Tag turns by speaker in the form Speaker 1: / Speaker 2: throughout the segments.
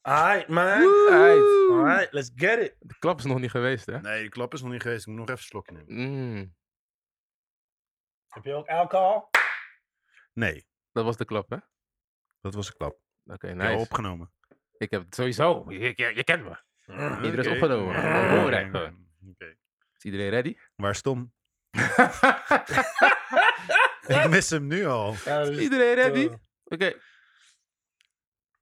Speaker 1: Alright, man.
Speaker 2: Uit.
Speaker 1: Alright, let's get it.
Speaker 2: De klap is nog niet geweest, hè?
Speaker 3: Nee, de klap is nog niet geweest. Ik moet nog even een slokje nemen.
Speaker 2: Mm,
Speaker 1: Heb je ook alcohol?
Speaker 3: Nee,
Speaker 2: dat was de klap, hè? Oké,
Speaker 3: dat was een klap. Ja,
Speaker 2: nice.
Speaker 3: opgenomen.
Speaker 2: Ik heb het
Speaker 1: Oh,
Speaker 2: sowieso. Oh, Je, je, je kent me. Iedereen is
Speaker 3: Oké.
Speaker 2: opgenomen.
Speaker 3: Oké.
Speaker 2: Belangrijk, hoor.
Speaker 3: Oké.
Speaker 2: Is iedereen ready?
Speaker 3: Waar is Tom? Ik mis hem nu al.
Speaker 1: Ja, dus-
Speaker 2: iedereen ready? Oké,
Speaker 1: eh,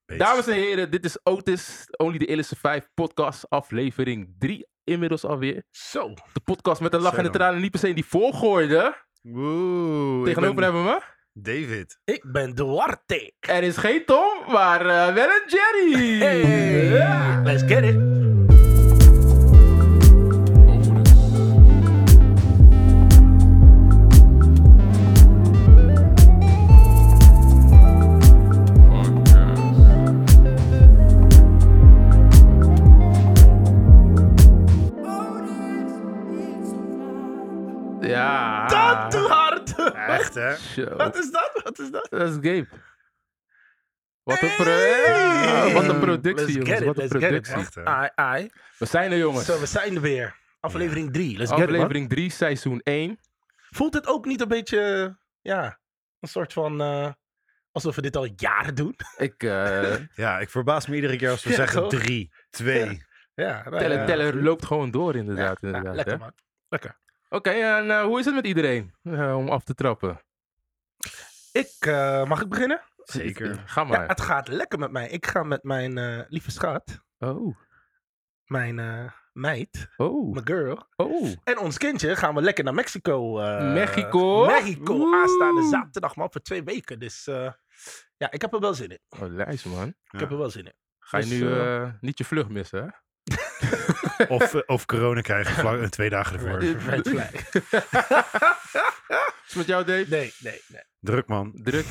Speaker 3: Beest.
Speaker 2: dames en heren, dit is Otis, Only the Illicit 5 podcast, aflevering 3 inmiddels alweer.
Speaker 1: Zo.
Speaker 2: De podcast met de lach
Speaker 3: Zo
Speaker 2: en de
Speaker 3: dan.
Speaker 2: tranen, niet per se in die voorgooide.
Speaker 3: Oeh, ik
Speaker 2: Tegenover
Speaker 3: ben
Speaker 2: hebben we.
Speaker 3: David.
Speaker 1: Ik ben Duarte.
Speaker 2: Er is geen Tom, maar eh, wel een Jerry. Ja.
Speaker 1: Let's get it.
Speaker 2: Ja.
Speaker 1: Dat te hard.
Speaker 3: Echt, hè?
Speaker 2: Zo.
Speaker 1: Wat is dat? Wat is dat?
Speaker 2: Dat is Gabe. Wat een, pro-
Speaker 1: Hey!
Speaker 2: Ja, wat een productie,
Speaker 1: Let's
Speaker 2: jongens.
Speaker 1: get it,
Speaker 2: wat een
Speaker 1: let's get it,
Speaker 2: productie.
Speaker 1: man.
Speaker 3: Echt, hè?
Speaker 1: Ai, ai.
Speaker 2: We zijn er, jongens.
Speaker 1: Zo, we zijn er weer. Aflevering 3. Let's get it, man.
Speaker 2: Aflevering 3, seizoen 1.
Speaker 1: Voelt het ook niet een beetje, eh, ja, een soort van, eh, alsof we dit al jaren doen?
Speaker 2: Ik eh
Speaker 3: Ja, ik verbaas me iedere keer als we
Speaker 1: Ja,
Speaker 3: zeggen
Speaker 1: toch?
Speaker 3: drie, twee.
Speaker 1: Ja, nou
Speaker 2: teller,
Speaker 1: ja.
Speaker 2: teller loopt gewoon door, inderdaad.
Speaker 1: Ja,
Speaker 2: inderdaad
Speaker 1: lekker
Speaker 2: hè.
Speaker 1: man.
Speaker 2: Oké, en eh, hoe is het met iedereen? Eh, om af te trappen.
Speaker 1: Ik, eh, mag ik beginnen?
Speaker 3: Zeker.
Speaker 2: Ga
Speaker 1: Ja,
Speaker 2: maar.
Speaker 1: het gaat lekker met mij. Ik ga met mijn eh, lieve schat,
Speaker 2: Oh,
Speaker 1: mijn eh, meid,
Speaker 2: oh,
Speaker 1: mijn girl
Speaker 2: oh.
Speaker 1: en ons kindje gaan we lekker naar Mexico. eh,
Speaker 2: Mexico?
Speaker 1: Mexico,
Speaker 2: Woe.
Speaker 1: aanstaande zaterdag man, voor twee weken. Dus eh, ja, ik heb er wel zin in. Ik
Speaker 2: Oh, lijst, man.
Speaker 1: heb er wel zin in.
Speaker 2: Ga je
Speaker 1: Dus,
Speaker 2: nu
Speaker 1: eh,
Speaker 2: eh, niet je vlucht missen, hè?
Speaker 3: Of, eh, of corona krijgen vlak, eh, twee dagen ervoor.
Speaker 2: Dit-
Speaker 1: Red flag.
Speaker 2: Is het met jou, Dave?
Speaker 1: Nee, nee, nee.
Speaker 3: Druk, man.
Speaker 2: Druk.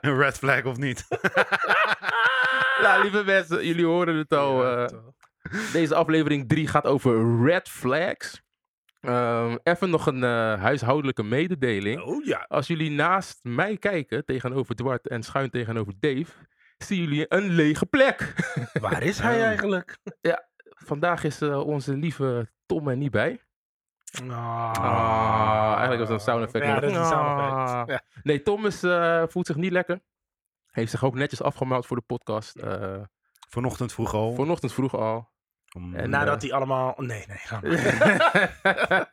Speaker 3: Een red flag of niet?
Speaker 2: nou, lieve mensen, jullie horen het al. eh,
Speaker 1: Ja, toch.
Speaker 2: Deze aflevering 3 gaat over red flags. Ehm, even nog een eh, huishoudelijke mededeling.
Speaker 1: Oh ja.
Speaker 2: Als jullie naast mij kijken, tegenover Dwart en schuin tegenover Dave, zien jullie een lege plek.
Speaker 1: Waar is hij
Speaker 3: Oh.
Speaker 1: eigenlijk?
Speaker 2: Vandaag is eh, onze lieve Tom er niet bij.
Speaker 1: Ah,
Speaker 2: eigenlijk was dat een sound effect,
Speaker 1: Ja,
Speaker 2: maar-
Speaker 1: dat is een sound effect.
Speaker 2: Ah.
Speaker 1: Ja.
Speaker 2: Nee, Tom is, eh, voelt zich niet lekker. Heeft zich ook netjes afgemeld voor de podcast. eh,
Speaker 3: Vanochtend vroeg
Speaker 1: Oh.
Speaker 3: al.
Speaker 2: vanochtend vroeg al.
Speaker 3: Om-
Speaker 2: En
Speaker 1: Nadat hij allemaal... Nee, nee. ga maar.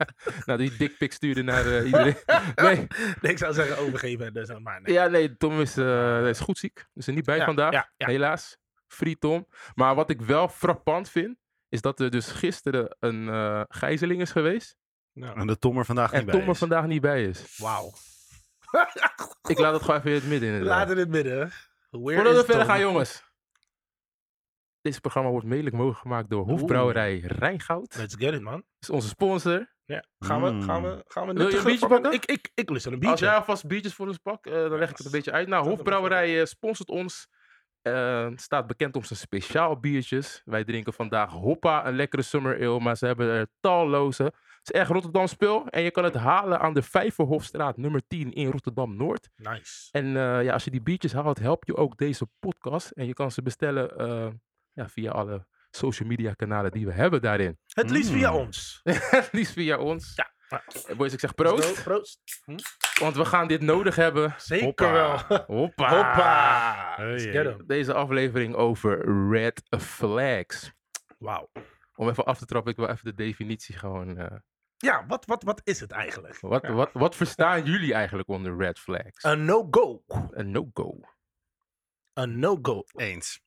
Speaker 2: nou, die dikpik stuurde naar eh, iedereen. Nee,
Speaker 1: Nee, ik zou zeggen overgeven. Dus, maar nee.
Speaker 2: ja, nee, Tom is, eh, is goed ziek. Is er niet bij
Speaker 1: Ja,
Speaker 2: vandaag.
Speaker 1: ja, ja.
Speaker 2: Helaas. Free Tom. Maar wat ik wel frappant vind, is dat er dus gisteren een eh gijzeling is geweest.
Speaker 1: Nou,
Speaker 3: En eh, de Tom er vandaag
Speaker 2: En
Speaker 3: niet bij
Speaker 2: Tom er
Speaker 3: is.
Speaker 2: vandaag niet bij is.
Speaker 1: Wauw.
Speaker 2: Ik laat het gewoon even in het midden inderdaad.
Speaker 1: Laat het in het midden. Where
Speaker 2: Voordat
Speaker 1: is
Speaker 2: we verder
Speaker 1: Tom?
Speaker 2: gaan, jongens. Dit programma wordt mede mogelijk gemaakt door Hofbrouwerij Rijngoud. Dat
Speaker 1: Let's get it, man.
Speaker 2: is onze sponsor.
Speaker 1: Ja. Gaan,
Speaker 3: Mm.
Speaker 1: we, gaan we... Gaan we
Speaker 2: Wil je
Speaker 1: nuttige
Speaker 2: een biertje
Speaker 1: fucking-
Speaker 2: pakken?
Speaker 1: Ik, ik, ik lust wel een
Speaker 2: Als
Speaker 1: biertje.
Speaker 2: jij alvast biertjes voor ons pakt, eh, dan leg ik het een beetje uit. Nou,
Speaker 1: Dat
Speaker 2: Hofbrouwerij eh, sponsort ons. Eh, staat bekend om zijn speciaal biertjes. Wij drinken vandaag Hoppa, een lekkere summer ale. Maar ze hebben er talloze. Het is echt Rotterdam spul. En je kan het halen aan de Vijverhofstraat nummer 10 in Rotterdam-Noord.
Speaker 1: Nice.
Speaker 2: En eh, ja, als je die biertjes haalt, help je ook deze podcast. En je kan ze bestellen eh, ja, via alle social media kanalen die we hebben daarin.
Speaker 1: Het liefst via
Speaker 3: Mm.
Speaker 1: ons.
Speaker 2: Het liefst via ons.
Speaker 1: Ja.
Speaker 2: Eh, Boys, ik zeg
Speaker 1: Let's go.
Speaker 2: proost.
Speaker 1: Proost.
Speaker 2: Want we gaan dit nodig hebben.
Speaker 1: Zeker
Speaker 3: Hoppa.
Speaker 1: wel.
Speaker 2: Hoppa.
Speaker 1: Hoppa.
Speaker 3: Hey,
Speaker 1: Let's get
Speaker 3: hey.
Speaker 1: 'em.
Speaker 2: Deze aflevering over red flags.
Speaker 1: Wauw.
Speaker 2: Om even af te trappen, ik wil even de definitie gewoon. eh,
Speaker 1: Ja, wat, wat, wat is het eigenlijk?
Speaker 2: wat,
Speaker 1: Ja. Eh.
Speaker 2: wat, wat verstaan jullie eigenlijk onder red flags? Een
Speaker 1: Een no-go.
Speaker 2: no-go.
Speaker 1: Een no-go.
Speaker 3: Eens.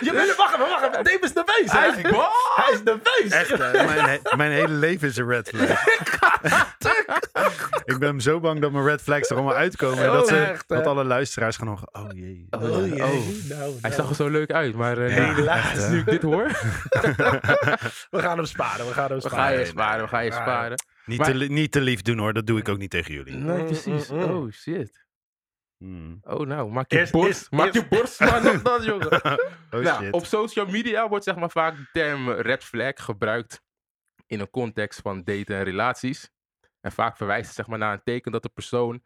Speaker 1: Je bent wacht even, wacht even. Dave is de wees.
Speaker 2: Hij is boos.
Speaker 1: Hij is de wees.
Speaker 3: Echt, hè? Mijn, he- mijn hele leven is een red flag. ik ben zo bang dat mijn red flags er allemaal uitkomen. en
Speaker 2: Oh,
Speaker 3: dat, ze,
Speaker 1: echt, hè?
Speaker 3: dat alle luisteraars gaan horen. Oh jee.
Speaker 2: Oh,
Speaker 1: Oh, jee,
Speaker 2: ja. Oh.
Speaker 1: nou, nou.
Speaker 2: Hij zag er zo leuk uit, maar eh,
Speaker 1: Ja,
Speaker 2: nee,
Speaker 1: Helaas.
Speaker 2: nu ik dit hoor.
Speaker 1: We gaan hem sparen, we gaan hem
Speaker 2: We gaan
Speaker 1: sparen. Ah,
Speaker 2: je sparen, we gaan je
Speaker 1: Ja, ja.
Speaker 2: sparen.
Speaker 3: Niet,
Speaker 2: Maar-
Speaker 3: te, li- niet te lief doen hoor, dat doe ik ook niet tegen jullie.
Speaker 2: Nee, precies.
Speaker 1: Mm, mm, mm.
Speaker 2: Oh shit.
Speaker 3: Hmm.
Speaker 2: Oh nou, maak je
Speaker 1: Eerst-
Speaker 2: borst,
Speaker 1: eerst-
Speaker 2: maak je
Speaker 1: eerst-
Speaker 2: borst maar nog dat, jongen.
Speaker 3: Oh
Speaker 2: Nou,
Speaker 3: shit.
Speaker 2: op social media wordt zeg maar vaak de term red flag gebruikt in een context van daten en relaties. En vaak verwijst het zeg maar naar een teken dat de persoon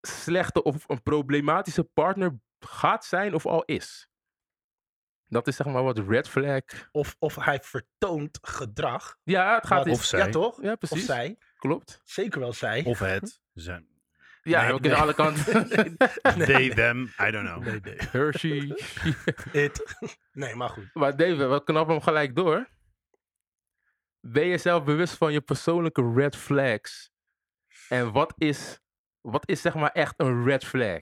Speaker 2: slechte of een problematische partner gaat zijn of al is. Dat is zeg maar wat red flag.
Speaker 1: Of, of hij vertoont gedrag.
Speaker 2: Ja, het gaat
Speaker 1: wat-
Speaker 3: Of
Speaker 2: is.
Speaker 3: zij.
Speaker 1: Ja, toch?
Speaker 2: Ja,
Speaker 1: Of
Speaker 2: precies.
Speaker 1: zij.
Speaker 2: Klopt.
Speaker 1: Zeker wel zij.
Speaker 3: Of het. Zijn.
Speaker 2: Ja,
Speaker 3: Nee,
Speaker 2: ook in
Speaker 3: nee.
Speaker 2: alle kanten.
Speaker 3: They, them, I don't know.
Speaker 1: Nee, nee.
Speaker 2: Hershey.
Speaker 1: It. Nee, maar goed.
Speaker 2: maar David, we knappen hem gelijk door. Ben je zelf bewust van je persoonlijke red flags? En wat is, wat is zeg maar echt een red flag?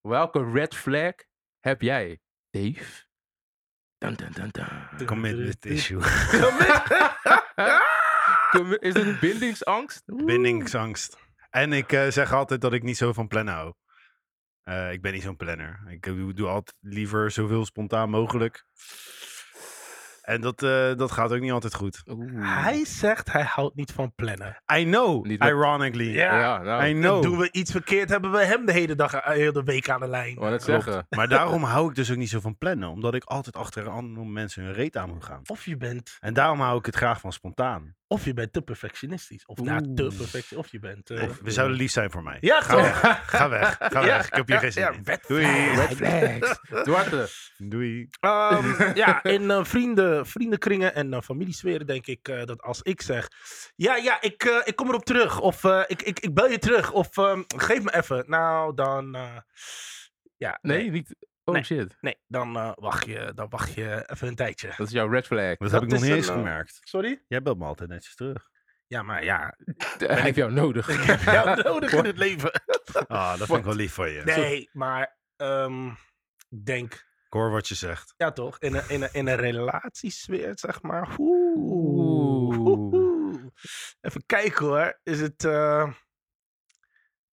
Speaker 2: Welke red flag heb jij, Dave? Dun, dun, dun, dun.
Speaker 3: Commitment issue.
Speaker 1: Ah!
Speaker 2: Kom- Is het bindingsangst?
Speaker 3: Bindingsangst. En ik eh, zeg altijd dat ik niet zo van plannen hou. Eh, ik ben niet zo'n planner. Ik eh, doe, doe altijd liever zoveel spontaan mogelijk. En dat, eh, dat gaat ook niet altijd goed.
Speaker 2: Oeh.
Speaker 3: Hmm.
Speaker 1: Hij zegt hij houdt niet van plannen.
Speaker 3: I know,
Speaker 2: Niet met-
Speaker 3: ironically.
Speaker 1: Ja.
Speaker 2: Ja, nou,
Speaker 3: I
Speaker 1: Dan
Speaker 3: know.
Speaker 1: Doen we iets verkeerd, hebben we hem de hele, dag, eh, de hele week aan de lijn.
Speaker 2: ik wou net
Speaker 3: Klopt.
Speaker 2: zeggen.
Speaker 3: Maar daarom hou ik dus ook niet zo van plannen. Omdat ik altijd achter andere mensen hun reet aan moet gaan.
Speaker 1: Of je bent,
Speaker 3: En daarom hou ik het graag van spontaan.
Speaker 1: of je bent te perfectionistisch. Of nou,
Speaker 2: Oeh.
Speaker 1: te perfectionistisch. Of je bent... eh,
Speaker 3: Of, we zouden lief zijn voor mij.
Speaker 1: Ja,
Speaker 3: ga
Speaker 1: toch?
Speaker 3: weg. Ga weg. Ga
Speaker 1: Ja,
Speaker 3: weg. Ik heb hier geen zin
Speaker 1: ja,
Speaker 3: in.
Speaker 1: red
Speaker 3: Doei.
Speaker 2: Red flags. Duarte.
Speaker 3: Doei.
Speaker 1: Ehm, ja, in eh, vrienden, vriendenkringen en eh, familiesferen denk ik eh, dat als ik zeg... Ja, ja, ik, eh, ik kom erop terug. Of eh, ik, ik, ik bel je terug. Of ehm, geef me even. Nou, dan... eh, ja,
Speaker 2: Nee, niet. Oh
Speaker 1: Nee.
Speaker 2: shit.
Speaker 1: Nee, dan, eh, wacht je, dan wacht je even een tijdje.
Speaker 2: Dat is jouw red flag.
Speaker 3: Dat,
Speaker 1: Dat
Speaker 3: heb ik nog
Speaker 1: is
Speaker 3: niet
Speaker 1: een,
Speaker 3: eens
Speaker 1: eh,
Speaker 3: gemerkt.
Speaker 1: Sorry?
Speaker 3: Jij belt me altijd netjes terug.
Speaker 1: Ja, maar ja.
Speaker 2: Hij heeft jou nodig.
Speaker 1: Ik heb jou nodig in het leven.
Speaker 3: Ah, dat vind ik wel lief van je.
Speaker 1: Nee, maar ehm, ik denk,
Speaker 3: Ik hoor wat je zegt.
Speaker 1: ja toch, in een, in een, in een relatiesfeer, zeg maar. Oeh,
Speaker 2: Oeh.
Speaker 1: oeh. Even kijken hoor. Is het. eh,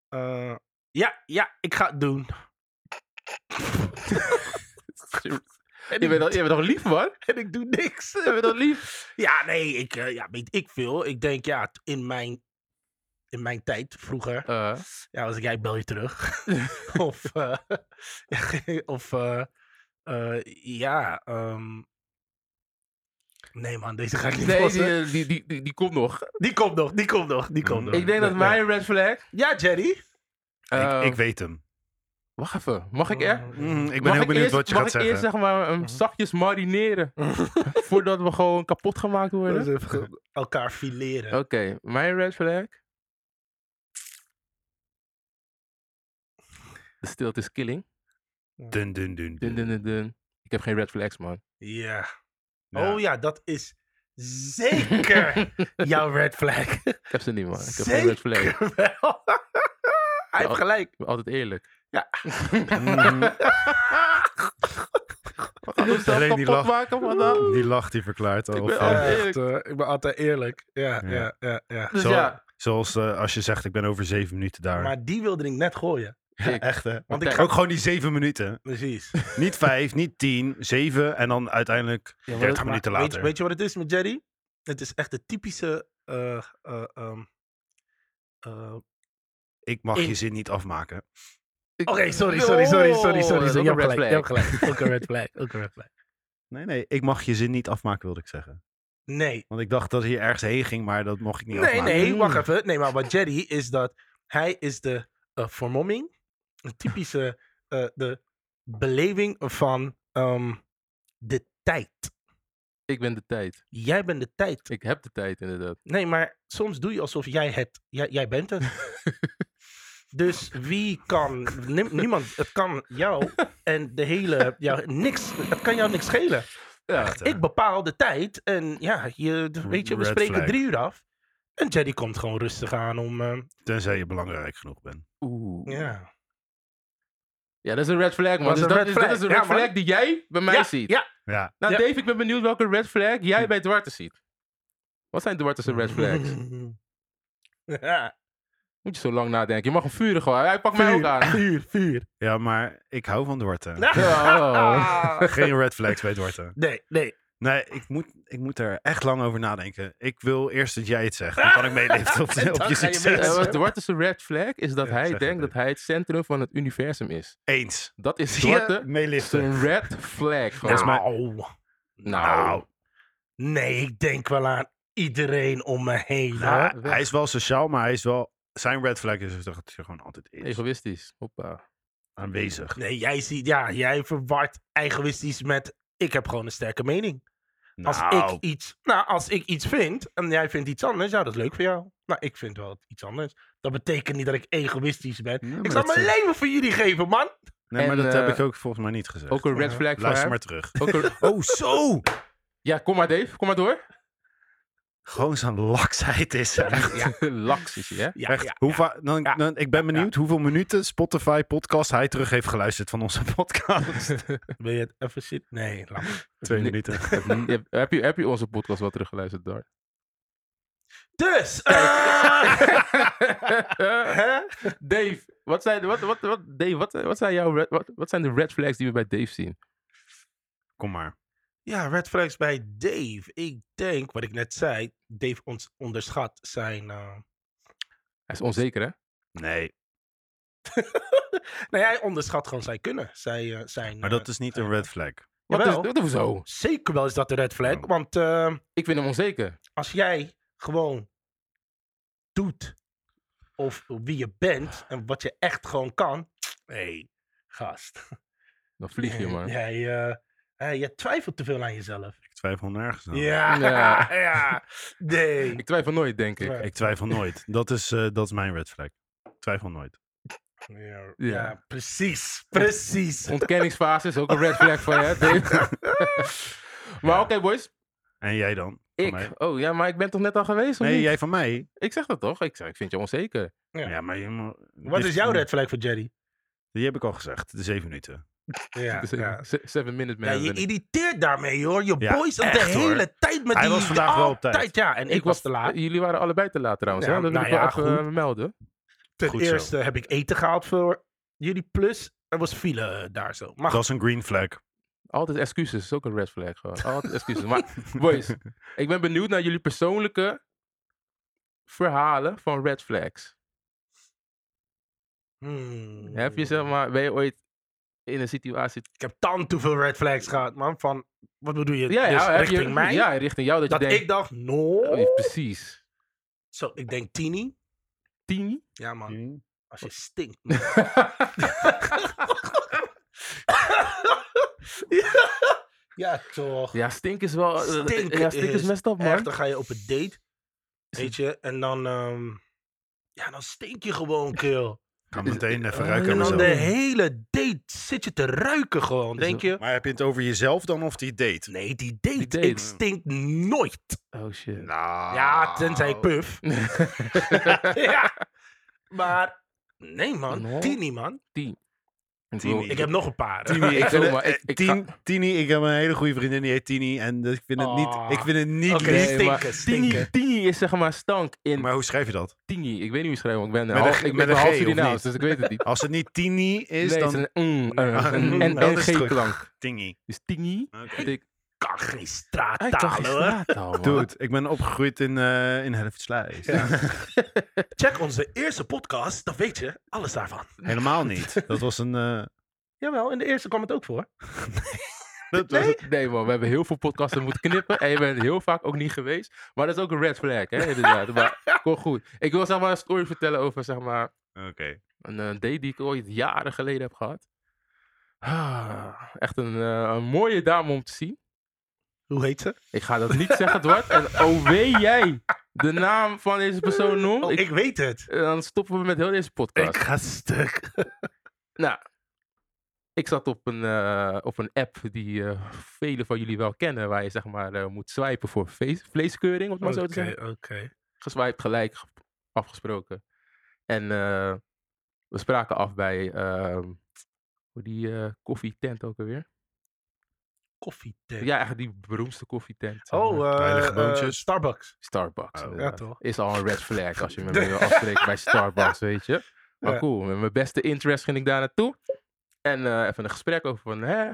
Speaker 1: eh, ja, ja, ik ga het doen. En
Speaker 2: Je
Speaker 1: ik,
Speaker 2: bent, al, je bent al lief, man.
Speaker 1: en ik doe niks.
Speaker 2: Je bent al lief.
Speaker 1: Ja, nee, ik, eh, ja, weet ik veel. Ik denk, ja, t- in mijn, in mijn tijd vroeger.
Speaker 2: Eh,
Speaker 1: Ja, als ik, jij bel je terug. of, eh, ja, of eh, eh, ja, ehm, nee man, deze ga ik niet
Speaker 2: nee,
Speaker 1: passen. Die,
Speaker 2: die, die, die, die, die komt nog.
Speaker 1: komt nog, die komt nog, die komt
Speaker 3: Mm.
Speaker 1: nog.
Speaker 2: Ik denk dat
Speaker 1: Ja.
Speaker 2: mijn red flag.
Speaker 1: Ja, Jerry. Ehm.
Speaker 2: eh,
Speaker 3: ik, ik weet hem.
Speaker 2: Wacht even. Mag ik er?
Speaker 3: Mm, ik ben
Speaker 2: Mag
Speaker 3: heel benieuwd
Speaker 2: eerst-
Speaker 3: wat je
Speaker 2: mag
Speaker 3: gaat
Speaker 2: ik
Speaker 3: zeggen.
Speaker 2: eerst zeg maar hem zachtjes marineren. voordat we gewoon kapot gemaakt worden. Oké,
Speaker 1: Elkaar fileren.
Speaker 2: mijn red flag. De stilte is killing.
Speaker 3: Dun, dun, dun.
Speaker 2: Dun, dun, dun, dun. Ik heb geen red flags, man.
Speaker 1: Ja.
Speaker 3: Ja.
Speaker 1: Oh ja, dat is zeker jouw red flag.
Speaker 2: Ik heb ze niet, man. Ik heb geen red flag. Ik
Speaker 1: Zeker wel. Hij heeft gelijk.
Speaker 2: ben altijd eerlijk.
Speaker 1: Ja.
Speaker 3: Mhm.
Speaker 1: Ah,
Speaker 2: Alles zelf
Speaker 3: Alleen die
Speaker 2: kapot
Speaker 3: lach.
Speaker 2: maken vandaag.
Speaker 3: Die lach die verklaart
Speaker 2: Ik
Speaker 3: al.
Speaker 2: ben
Speaker 3: van-
Speaker 2: altijd-
Speaker 1: Echt, eh, ik ben altijd eerlijk. Ja,
Speaker 3: Ja.
Speaker 1: ja, ja, ja.
Speaker 2: Dus
Speaker 3: Zo-
Speaker 2: ja,
Speaker 3: Zoals eh, als je zegt, ik ben over zeven minuten daar.
Speaker 1: Maar die wilde ik net gooien.
Speaker 2: ik-
Speaker 3: Echt hè?
Speaker 1: Want
Speaker 2: Martijn.
Speaker 1: ik ga...
Speaker 3: Ook gewoon die zeven minuten.
Speaker 1: Precies.
Speaker 3: Niet vijf, niet tien, zeven en dan uiteindelijk
Speaker 2: Ja, maar
Speaker 3: 30
Speaker 2: dat-
Speaker 3: minuten
Speaker 1: Maar
Speaker 3: later.
Speaker 1: Weet, je- weet je wat het is met Jerry? Het is echt de typische. eh, eh, ehm, eh,
Speaker 3: ik mag
Speaker 1: in-
Speaker 3: je zin niet afmaken.
Speaker 2: ik-
Speaker 1: Oké, sorry, sorry, sorry, sorry,
Speaker 2: Oh,
Speaker 1: sorry.
Speaker 2: dat is
Speaker 1: sorry.
Speaker 2: ook
Speaker 1: Je
Speaker 2: een red
Speaker 1: hebt gelijk, je hebt
Speaker 2: flag.
Speaker 1: gelijk. Ook een red flag, ook een red flag.
Speaker 3: Nee, nee, ik mag je zin niet afmaken, wilde ik zeggen.
Speaker 1: Nee,
Speaker 3: Want ik dacht dat je ergens heen ging, maar dat mocht ik niet
Speaker 1: nee,
Speaker 3: afmaken. Mm.
Speaker 1: nee, wacht even. Nee, maar wat Jerry is dat hij is de eh, vermomming, een typische eh, de beleving van ehm, de tijd.
Speaker 2: Ik ben de tijd.
Speaker 1: Jij bent de tijd.
Speaker 2: Ik heb de tijd, inderdaad.
Speaker 1: Nee, maar soms doe je alsof jij het, jij, jij bent het. dus wie kan, ni- niemand, het kan jou en de hele, ja, niks, het kan jou niks schelen.
Speaker 2: Ja,
Speaker 3: Echt, hè?
Speaker 1: Ik bepaal de tijd en ja, je, d- weet je, we
Speaker 3: Red
Speaker 1: spreken
Speaker 3: flag.
Speaker 1: drie uur af. En Jerry komt gewoon rustig aan om, eh,
Speaker 3: Tenzij je belangrijk genoeg bent.
Speaker 2: oeh.
Speaker 1: ja.
Speaker 2: Ja, dat is een red flag, man.
Speaker 1: Dat is
Speaker 2: Dus
Speaker 1: een
Speaker 2: dat,
Speaker 1: red
Speaker 2: is, dat
Speaker 1: flag.
Speaker 2: is een
Speaker 1: Ja,
Speaker 2: red
Speaker 1: man.
Speaker 2: flag die jij bij mij
Speaker 1: ja,
Speaker 2: ziet.
Speaker 1: Ja,
Speaker 3: Ja,
Speaker 2: Nou,
Speaker 1: Ja. Hm.
Speaker 2: Dave, ik ben benieuwd welke red flag jij bij Duarte ziet. Wat zijn Duarte's red flags?
Speaker 1: ja.
Speaker 2: Moet je zo lang nadenken. Je mag hem vuren gewoon. Hij pakt mij ook aan.
Speaker 1: vuur, vuur.
Speaker 3: ja maar ik hou van Dwarten.
Speaker 1: Nou,
Speaker 2: Oh.
Speaker 3: Geen red flags bij Dwarten.
Speaker 1: Nee, nee.
Speaker 3: Nee, ik moet, ik moet er echt lang over nadenken. Ik wil eerst dat jij het zegt. Dan kan ik meeliften op,
Speaker 1: En
Speaker 3: op
Speaker 1: dan
Speaker 3: je
Speaker 1: ga je
Speaker 3: succes.
Speaker 2: Eh, Wat Duarte's red flag is dat
Speaker 3: Ja,
Speaker 2: hij
Speaker 3: zeg het
Speaker 2: denkt dat
Speaker 3: even.
Speaker 2: hij het centrum van het universum is.
Speaker 3: Eens.
Speaker 2: Dat is
Speaker 3: Zie je?
Speaker 2: Duarte
Speaker 3: Meeliften.
Speaker 2: zijn red flag.
Speaker 1: Nou,
Speaker 2: gewoon. Nou.
Speaker 1: Nee, ik denk wel aan iedereen om me heen. hoor.
Speaker 3: Ja,
Speaker 2: nou,
Speaker 3: hij dus is wel sociaal, maar hij is wel... Zijn red flag is dat hij gewoon altijd is.
Speaker 2: Egoïstisch. Hoppa.
Speaker 3: aanwezig.
Speaker 1: Nee, jij, ziet, ja, jij verwart egoïstisch met ik heb gewoon een sterke mening. Als,
Speaker 3: Nou,
Speaker 1: ik iets, nou, als ik iets vind en jij vindt iets anders, ja, dat is leuk voor jou. Nou, ik vind wel iets anders. Dat betekent niet dat ik egoïstisch ben.
Speaker 3: nee, maar
Speaker 1: ik zal
Speaker 3: dat,
Speaker 1: mijn
Speaker 3: eh,
Speaker 1: leven voor jullie geven, man.
Speaker 3: Nee, maar
Speaker 2: En,
Speaker 3: dat
Speaker 2: eh,
Speaker 3: heb ik ook volgens mij niet gezegd.
Speaker 2: Ook een red
Speaker 1: Ja.
Speaker 2: flag voor
Speaker 3: Luister
Speaker 2: hem.
Speaker 3: maar terug.
Speaker 2: Ook een-
Speaker 3: Oh, zo!
Speaker 2: Ja, kom maar Dave, kom maar door.
Speaker 3: Gewoon zo'n laksheid is. hem.
Speaker 2: Laks is hij, hè?
Speaker 1: Ja,
Speaker 3: Echt,
Speaker 1: ja,
Speaker 3: hoe
Speaker 1: ja.
Speaker 3: va- dan,
Speaker 1: Ja.
Speaker 3: dan, ik ben benieuwd hoeveel minuten Spotify podcast hij terug heeft geluisterd van onze podcast.
Speaker 1: Wil je het even zitten? Nee, laat maar.
Speaker 3: Twee
Speaker 2: Nee.
Speaker 3: minuten.
Speaker 2: Je hebt- heb, je, heb je onze podcast wel teruggeluisterd, Dar?
Speaker 1: Dus, eh, hè?
Speaker 2: Dave, wat zijn, wat, wat, wat, Dave, wat, wat, zijn jouw red, wat, wat zijn de red flags die we bij Dave zien?
Speaker 3: Kom maar.
Speaker 1: Ja, red flags bij Dave. Ik denk, wat ik net zei, Dave ons onderschat zijn... eh,
Speaker 2: Hij is onzeker, hè?
Speaker 3: Nee,
Speaker 1: nee, nou hij onderschat gewoon zijn kunnen. Zij, eh, zijn,
Speaker 3: maar
Speaker 1: eh,
Speaker 3: dat is niet een
Speaker 1: eh,
Speaker 3: red flag.
Speaker 2: Wat is,
Speaker 1: Jawel.
Speaker 2: wat is Oh. zo?
Speaker 1: Zeker wel is dat de red flag,
Speaker 3: Ja.
Speaker 1: want eh,
Speaker 2: dus- Ik vind hem onzeker.
Speaker 1: als jij gewoon doet of wie je bent en wat je echt gewoon kan, hé, hey, gast.
Speaker 2: Dan vlieg je, man.
Speaker 1: Jij, eh, eh, jij twijfelt te veel aan jezelf.
Speaker 3: Ik twijfel nergens aan.
Speaker 1: Ja,
Speaker 2: Ja.
Speaker 1: ja, nee.
Speaker 2: Ik twijfel nooit, denk ik.
Speaker 1: Ja.
Speaker 3: Ik twijfel nooit. Dat is, eh, dat is mijn red flag. Ik twijfel nooit.
Speaker 1: Ja,
Speaker 2: Ja.
Speaker 1: precies, precies.
Speaker 2: Ontkenningsfase is ook een red flag voor je, hè, Dave? maar oké, boys.
Speaker 3: En jij dan? Van mij?
Speaker 2: Ik. Oh ja, maar ik ben toch net al geweest? Of
Speaker 3: Nee,
Speaker 2: niet?
Speaker 3: jij van mij?
Speaker 2: Ik zeg dat toch? Ik, zeg, ik vind je onzeker.
Speaker 1: Ja.
Speaker 3: Ja, maar je mo-
Speaker 1: Wat
Speaker 3: dit-
Speaker 1: is jouw red flag voor Jerry?
Speaker 3: Die heb ik al gezegd. De zeven minuten.
Speaker 1: Ja,
Speaker 2: Dus, eh,
Speaker 1: ja.
Speaker 2: se- Seven minute man.
Speaker 1: Ja,
Speaker 2: ben
Speaker 1: je
Speaker 2: ik.
Speaker 1: irriteert daarmee, hoor. Je
Speaker 3: Ja,
Speaker 1: boys al de
Speaker 3: echt, hoor.
Speaker 1: hele tijd met
Speaker 3: Hij
Speaker 1: die...
Speaker 3: was vandaag wel op tijd.
Speaker 1: Altijd, Ja, en ik, was te laat.
Speaker 2: Jullie waren allebei te laat trouwens.
Speaker 1: Ja,
Speaker 2: hè? Dat wil
Speaker 1: nou
Speaker 2: ik wel
Speaker 1: ja,
Speaker 2: even
Speaker 1: goed.
Speaker 2: eh, melden.
Speaker 1: Ten
Speaker 3: Goed zo.
Speaker 1: eerste heb ik eten gehaald voor jullie plus. Er was file eh, daar zo. Maar
Speaker 3: Dat is een green flag.
Speaker 2: Altijd excuses. is ook een red flag gewoon. Altijd excuses. maar boys, ik ben benieuwd naar jullie persoonlijke verhalen van red flags.
Speaker 1: Hmm.
Speaker 2: Heb je zeg maar, ben je ooit in een situatie...
Speaker 1: Ik heb dan te veel red flags gehad, man. Van, wat bedoel je?
Speaker 2: Ja, ja,
Speaker 1: dus
Speaker 2: heb je-
Speaker 1: richting mij?
Speaker 2: Ja, richting jou. Dat,
Speaker 1: dat
Speaker 2: je denkt,
Speaker 1: ik dacht, no.
Speaker 2: Oh, precies.
Speaker 1: Zo, ik denk tini.
Speaker 2: Tien?
Speaker 1: Ja, man.
Speaker 2: Hmm.
Speaker 1: Als je stinkt. ja. ja, toch.
Speaker 2: ja, stink is wel... eh,
Speaker 1: Stinken
Speaker 2: ja, stink is
Speaker 1: is
Speaker 2: messed up, man.
Speaker 1: Echt, dan ga je op een date. Weet je, en dan... ehm, ja, dan stink je gewoon, kill.
Speaker 3: Ik ga meteen even
Speaker 2: Oh,
Speaker 3: ruiken
Speaker 2: ja.
Speaker 3: aan
Speaker 1: En dan
Speaker 3: mezelf.
Speaker 1: de hele date zit je te ruiken gewoon.
Speaker 2: Is
Speaker 1: Denk je?
Speaker 3: Maar heb je het over jezelf dan of die date?
Speaker 1: Nee, die date.
Speaker 2: Die date.
Speaker 1: Ik stink nooit.
Speaker 2: Oh, shit.
Speaker 3: Nou.
Speaker 1: Ja, tenzij ik puf. ja. Maar nee, man.
Speaker 2: Nee.
Speaker 1: Tini, man.
Speaker 2: Ik bedoel,
Speaker 3: Tini.
Speaker 1: Ik heb nog een paar. hè.
Speaker 3: Tini, ik,
Speaker 2: Ik
Speaker 3: vind
Speaker 2: wil
Speaker 3: het-
Speaker 2: maar- ik-
Speaker 3: eh,
Speaker 2: ik ga-
Speaker 3: Tien- Tini, ik heb een hele goede vriendin die heet Tini. En dus ik vind het
Speaker 1: Ah.
Speaker 3: niet, ik vind het niet
Speaker 1: Oké.
Speaker 3: lief.
Speaker 1: Nee,
Speaker 2: maar
Speaker 1: stinken, stinken.
Speaker 2: Tini- Tini is zeg maar stank in
Speaker 3: Maar hoe schrijf je dat?
Speaker 2: Tini. Ik weet niet hoe je schrijft, want ik ben
Speaker 3: Met
Speaker 2: half,
Speaker 3: een G-
Speaker 2: ik
Speaker 3: met
Speaker 2: ben
Speaker 3: een
Speaker 2: half
Speaker 3: G, of
Speaker 2: Surinaams,
Speaker 3: niet?
Speaker 2: dus ik weet het niet.
Speaker 3: Als het niet Tini is,
Speaker 2: nee,
Speaker 3: dan
Speaker 2: het is een mm, eh,
Speaker 3: Ah,
Speaker 2: een en,
Speaker 3: dat
Speaker 2: en
Speaker 3: is
Speaker 2: G
Speaker 3: terug.
Speaker 2: klank.
Speaker 3: Tini.
Speaker 2: Dus Tini.
Speaker 3: Oké.
Speaker 2: Ik
Speaker 1: kan geen
Speaker 2: hij kan
Speaker 1: straattaal,
Speaker 2: geen
Speaker 1: hoor.
Speaker 2: straattaal, man.
Speaker 3: Dude, ik ben opgegroeid in, eh in Helvoetsluis.
Speaker 1: Check onze eerste podcast. Dan weet je alles daarvan.
Speaker 3: Helemaal niet. Dat was een... eh,
Speaker 1: Jawel, in de eerste kwam het ook voor.
Speaker 3: dat was
Speaker 2: Nee? nee man, we hebben heel veel podcasten moeten knippen en je bent heel vaak ook niet geweest. Maar dat is ook een red flag, hè, inderdaad. maar kom goed. Ik wil zeg maar een story vertellen over zeg maar
Speaker 3: Oké.
Speaker 2: een eh, date die ik ooit jaren geleden heb gehad. Ah, echt een, eh, een mooie dame om te zien.
Speaker 1: Hoe heet ze?
Speaker 2: Ik ga dat niet zeggen, Dwart. En oh, weet jij de naam van deze persoon noemt,
Speaker 1: Oh,
Speaker 2: ik-
Speaker 1: ik, weet het.
Speaker 2: eh, dan stoppen we met heel deze podcast.
Speaker 1: Ik ga stuk.
Speaker 2: Nou, ik zat op een, eh, op een app die eh velen van jullie wel kennen, waar je zeg maar eh, moet swipen voor vlees- vleeskeuring, om het maar
Speaker 1: Oké,
Speaker 2: zo te zeggen.
Speaker 1: oké.
Speaker 2: Geswiped, gelijk, ge- afgesproken. En eh, we spraken af bij, ehm, hoe die eh, koffietent ook alweer?
Speaker 1: Koffietent.
Speaker 2: Ja, eigenlijk die beroemdste koffietent. zeg maar.
Speaker 1: Oh, eh,
Speaker 3: Heilige
Speaker 1: eh,
Speaker 3: boontjes.
Speaker 1: Starbucks.
Speaker 2: Starbucks.
Speaker 3: Oh, ja,
Speaker 2: inderdaad.
Speaker 1: toch?
Speaker 2: Is al een red flag als je met me wil afspreken bij Starbucks, weet je. Maar
Speaker 1: Ja.
Speaker 2: cool, met mijn beste interest ging ik daar naartoe. En eh, even een gesprek over van, hè,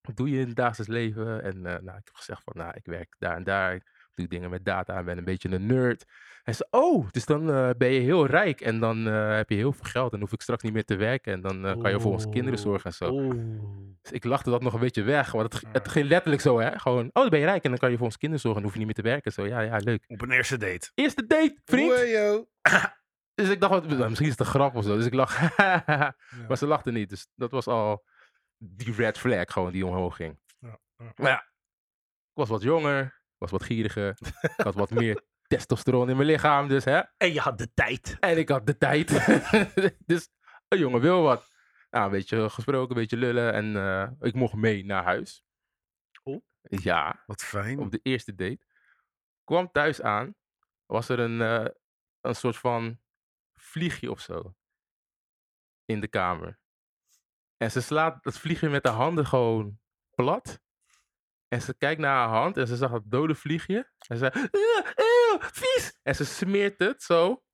Speaker 2: wat doe je in het dagelijks leven? En eh, nou, ik heb gezegd van, nou, ik werk daar en daar. Ik doe dingen met data en ben een beetje een nerd. Hij zei, oh, dus dan eh, ben je heel rijk en dan eh, heb je heel veel geld. En hoef ik straks niet meer te werken en dan eh, kan je voor onze kinderen
Speaker 1: Oeh.
Speaker 2: zorgen en zo.
Speaker 1: Oeh.
Speaker 2: Dus ik lachte dat nog een beetje weg, want het, het ging letterlijk zo, hè. Gewoon, oh, dan ben je rijk en dan kan je voor ons kinderen zorgen en hoef je niet meer te werken. Zo, ja, ja, leuk.
Speaker 3: Op een eerste date.
Speaker 2: Eerste date, vriend.
Speaker 3: Oejo.
Speaker 2: Dus ik dacht, wat, misschien is het een grap of zo. Dus ik lach. Maar ze lachten niet. Dus dat was al die red flag gewoon die omhoog ging.
Speaker 1: Ja, ja.
Speaker 2: Maar ja, ik was wat jonger. Ik was wat gieriger. ik had wat meer testosteron in mijn lichaam. Dus hè.
Speaker 1: En je had de tijd.
Speaker 2: En ik had de tijd. dus een jongen wil wat. Nou, een beetje gesproken, een beetje lullen. En eh, ik mocht mee naar huis.
Speaker 1: Oh.
Speaker 2: Ja
Speaker 3: Wat
Speaker 1: Hm.
Speaker 3: fijn.
Speaker 2: op de eerste date. Kwam thuis aan, was er een, eh, een soort van vliegje of zo in de kamer. En ze slaat dat vliegje met haar handen gewoon plat. En ze kijkt naar haar hand en ze zag dat dode vliegje. En ze zei, "Eeuw, eeuw, vies! En ze smeert het zo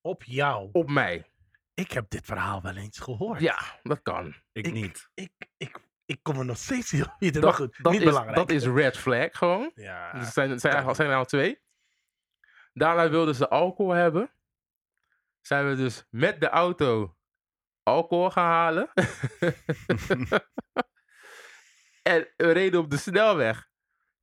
Speaker 1: Op jou.
Speaker 2: op mij.
Speaker 1: Ik heb dit verhaal wel eens gehoord.
Speaker 2: Ja, dat kan.
Speaker 3: Ik
Speaker 1: Ik-
Speaker 3: niet.
Speaker 1: Ik, ik, ik kom er nog steeds niet op. Dat,
Speaker 2: Dat,
Speaker 1: goed,
Speaker 2: dat
Speaker 1: niet
Speaker 2: is,
Speaker 1: belangrijk.
Speaker 2: dat is red flag gewoon.
Speaker 1: ja.
Speaker 2: Dus het zijn, het zijn,
Speaker 1: kan
Speaker 2: eigenlijk- het zijn er al twee. Daarna wilden ze alcohol hebben. Zijn we dus met de auto alcohol gaan halen. en we reden op de snelweg.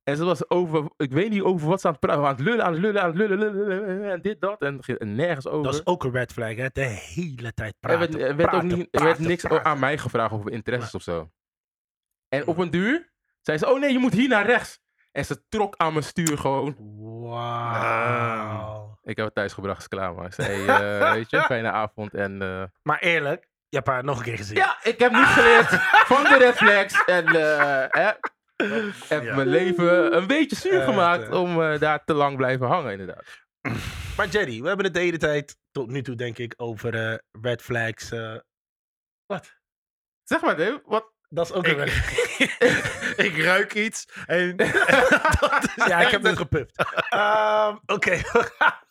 Speaker 2: En ze was over, ik weet niet over wat ze aan het praten, aan het lullen, aan het lullen, aan het lullen, lullen, lullen, lullen, en dit, dat, en, ge- en nergens over.
Speaker 1: dat is ook een red flag, hè? De hele tijd
Speaker 2: Er
Speaker 1: praten.
Speaker 2: werd, er werd, ook
Speaker 1: praten,
Speaker 2: niet, er
Speaker 1: praten,
Speaker 2: werd niks
Speaker 1: praten.
Speaker 2: aan mij gevraagd over interesses of zo. En op een duur zei ze: Oh nee, je moet hier naar rechts. En ze trok aan mijn stuur gewoon.
Speaker 1: Wauw.
Speaker 2: Ik heb het thuis gebracht, is klaar maar. Ik zei: eh, Weet je, fijne avond. En eh,
Speaker 1: Maar eerlijk, je hebt haar nog een keer gezien.
Speaker 2: ja, ik heb niet geleerd van de reflex. En eh, hè, heb
Speaker 3: Ja.
Speaker 2: mijn leven een beetje zuur
Speaker 1: Echt,
Speaker 2: gemaakt
Speaker 1: hè.
Speaker 2: om eh, daar te lang blijven hangen, inderdaad.
Speaker 1: Maar Jerry, we hebben het de hele tijd tot nu toe, denk ik, over eh, red flags. eh.
Speaker 2: Zeg maar, Dave, wat.
Speaker 1: dat is ook een
Speaker 3: Ik,
Speaker 1: red
Speaker 3: ik ruik iets. En
Speaker 1: Ja, ik heb dus- hem gepupt. Ehm, Oké, we gaan-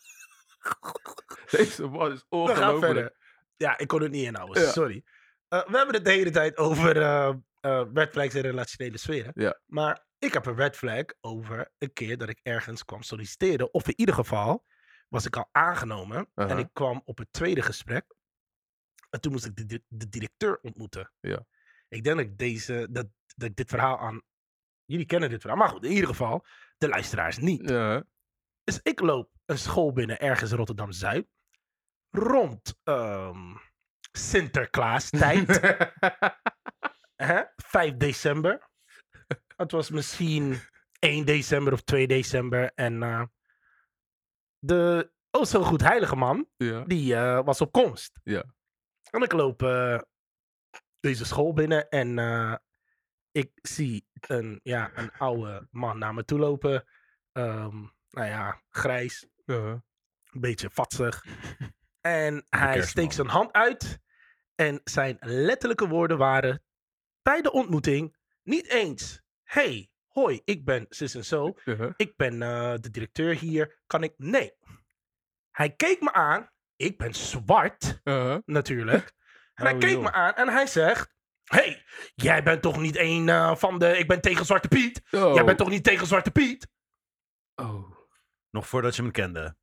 Speaker 2: Deze man is
Speaker 1: we gaan
Speaker 2: ongelooflijk.
Speaker 1: verder. Ja, ik kon het niet inhouden,
Speaker 2: Ja.
Speaker 1: sorry. Eh, we hebben het de hele tijd over eh eh, red flags in relationele sferen.
Speaker 2: Ja.
Speaker 1: Maar ik heb een red flag over een keer dat ik ergens kwam solliciteren. Of in ieder geval was ik al aangenomen.
Speaker 2: Aha.
Speaker 1: En ik kwam op het tweede gesprek. En toen moest ik de, di- de directeur ontmoeten.
Speaker 2: Ja.
Speaker 1: Ik denk dat ik, deze, dat, dat ik dit verhaal aan... Jullie kennen dit verhaal, maar goed, in ieder geval de luisteraars niet.
Speaker 2: Ja,
Speaker 1: Dus ik loop een school binnen ergens in Rotterdam-Zuid. Rond ehm Sinterklaastijd. hè? 5 december. Het was misschien 1 december of 2 december. En eh, de oh zo goed heilige man,
Speaker 2: ja.
Speaker 1: die eh, was op komst.
Speaker 2: Ja.
Speaker 1: En ik loop eh, deze school binnen en eh, ik zie een, ja, een oude man naar me toe lopen. Ehm, nou ja, grijs,
Speaker 2: ja.
Speaker 1: een beetje vatsig. En hij
Speaker 3: kerstman.
Speaker 1: steekt zijn hand uit. En zijn letterlijke woorden waren bij de ontmoeting niet eens. Hey, hoi, ik ben zus en zo.
Speaker 2: ja.
Speaker 1: Ik ben eh, de directeur hier. Kan ik? Nee. Hij keek me aan. Ik ben zwart,
Speaker 2: Uh-huh.
Speaker 1: natuurlijk. En hij
Speaker 2: Oh,
Speaker 1: keek
Speaker 2: joh.
Speaker 1: me aan en hij zegt... Hey, jij bent toch niet een eh, van de... Ik ben tegen Zwarte Piet.
Speaker 2: Oh.
Speaker 1: Jij bent toch niet tegen Zwarte Piet?
Speaker 2: Oh.
Speaker 3: Nog voordat je hem kende.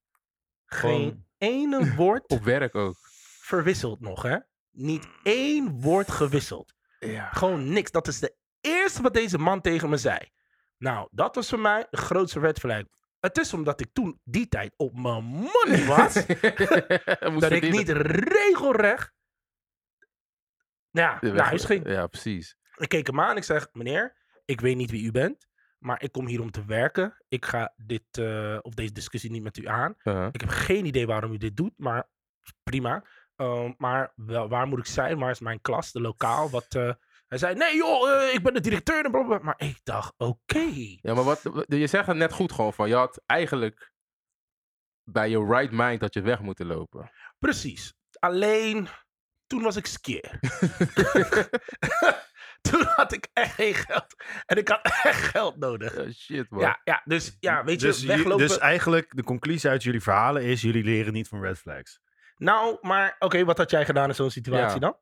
Speaker 1: Geen ene woord
Speaker 2: Op werk ook.
Speaker 1: verwisseld nog, hè? Niet één woord gewisseld.
Speaker 2: Ja.
Speaker 1: Gewoon niks. Dat is de eerste wat deze man tegen me zei. Nou, dat was voor mij de grootste red flag. Het is omdat ik toen die tijd op mijn money was, dat ik niet regelrecht ja, naar huis ging.
Speaker 2: Ja, precies.
Speaker 1: Ik keek hem aan en ik zeg, meneer, ik weet niet wie u bent, maar ik kom hier om te werken. Ik ga dit, eh, of deze discussie niet met u aan.
Speaker 2: Uh-huh.
Speaker 1: Ik heb geen idee waarom u dit doet, maar prima. Ehm, maar wel, waar moet ik zijn? Waar is mijn klas, de lokaal? Wat, eh, hij zei, nee joh, eh, ik ben de directeur. En blablabla. Maar ik dacht, oké.
Speaker 2: Ja, maar wat, wat- je zegt het net goed gewoon van, je had eigenlijk bij je right mind dat je weg moeten lopen.
Speaker 1: Precies. Alleen, toen was ik skeer. toen had ik echt geen geld. En ik had echt geld nodig.
Speaker 2: Ja, Eh, shit man.
Speaker 1: Ja, ja, dus ja, weet je,
Speaker 3: dus,
Speaker 1: weglopen.
Speaker 3: dus eigenlijk, de conclusie uit jullie verhalen is, jullie leren niet van red flags.
Speaker 1: Nou, maar oké, wat had jij gedaan in zo'n situatie
Speaker 2: Ja.
Speaker 1: dan?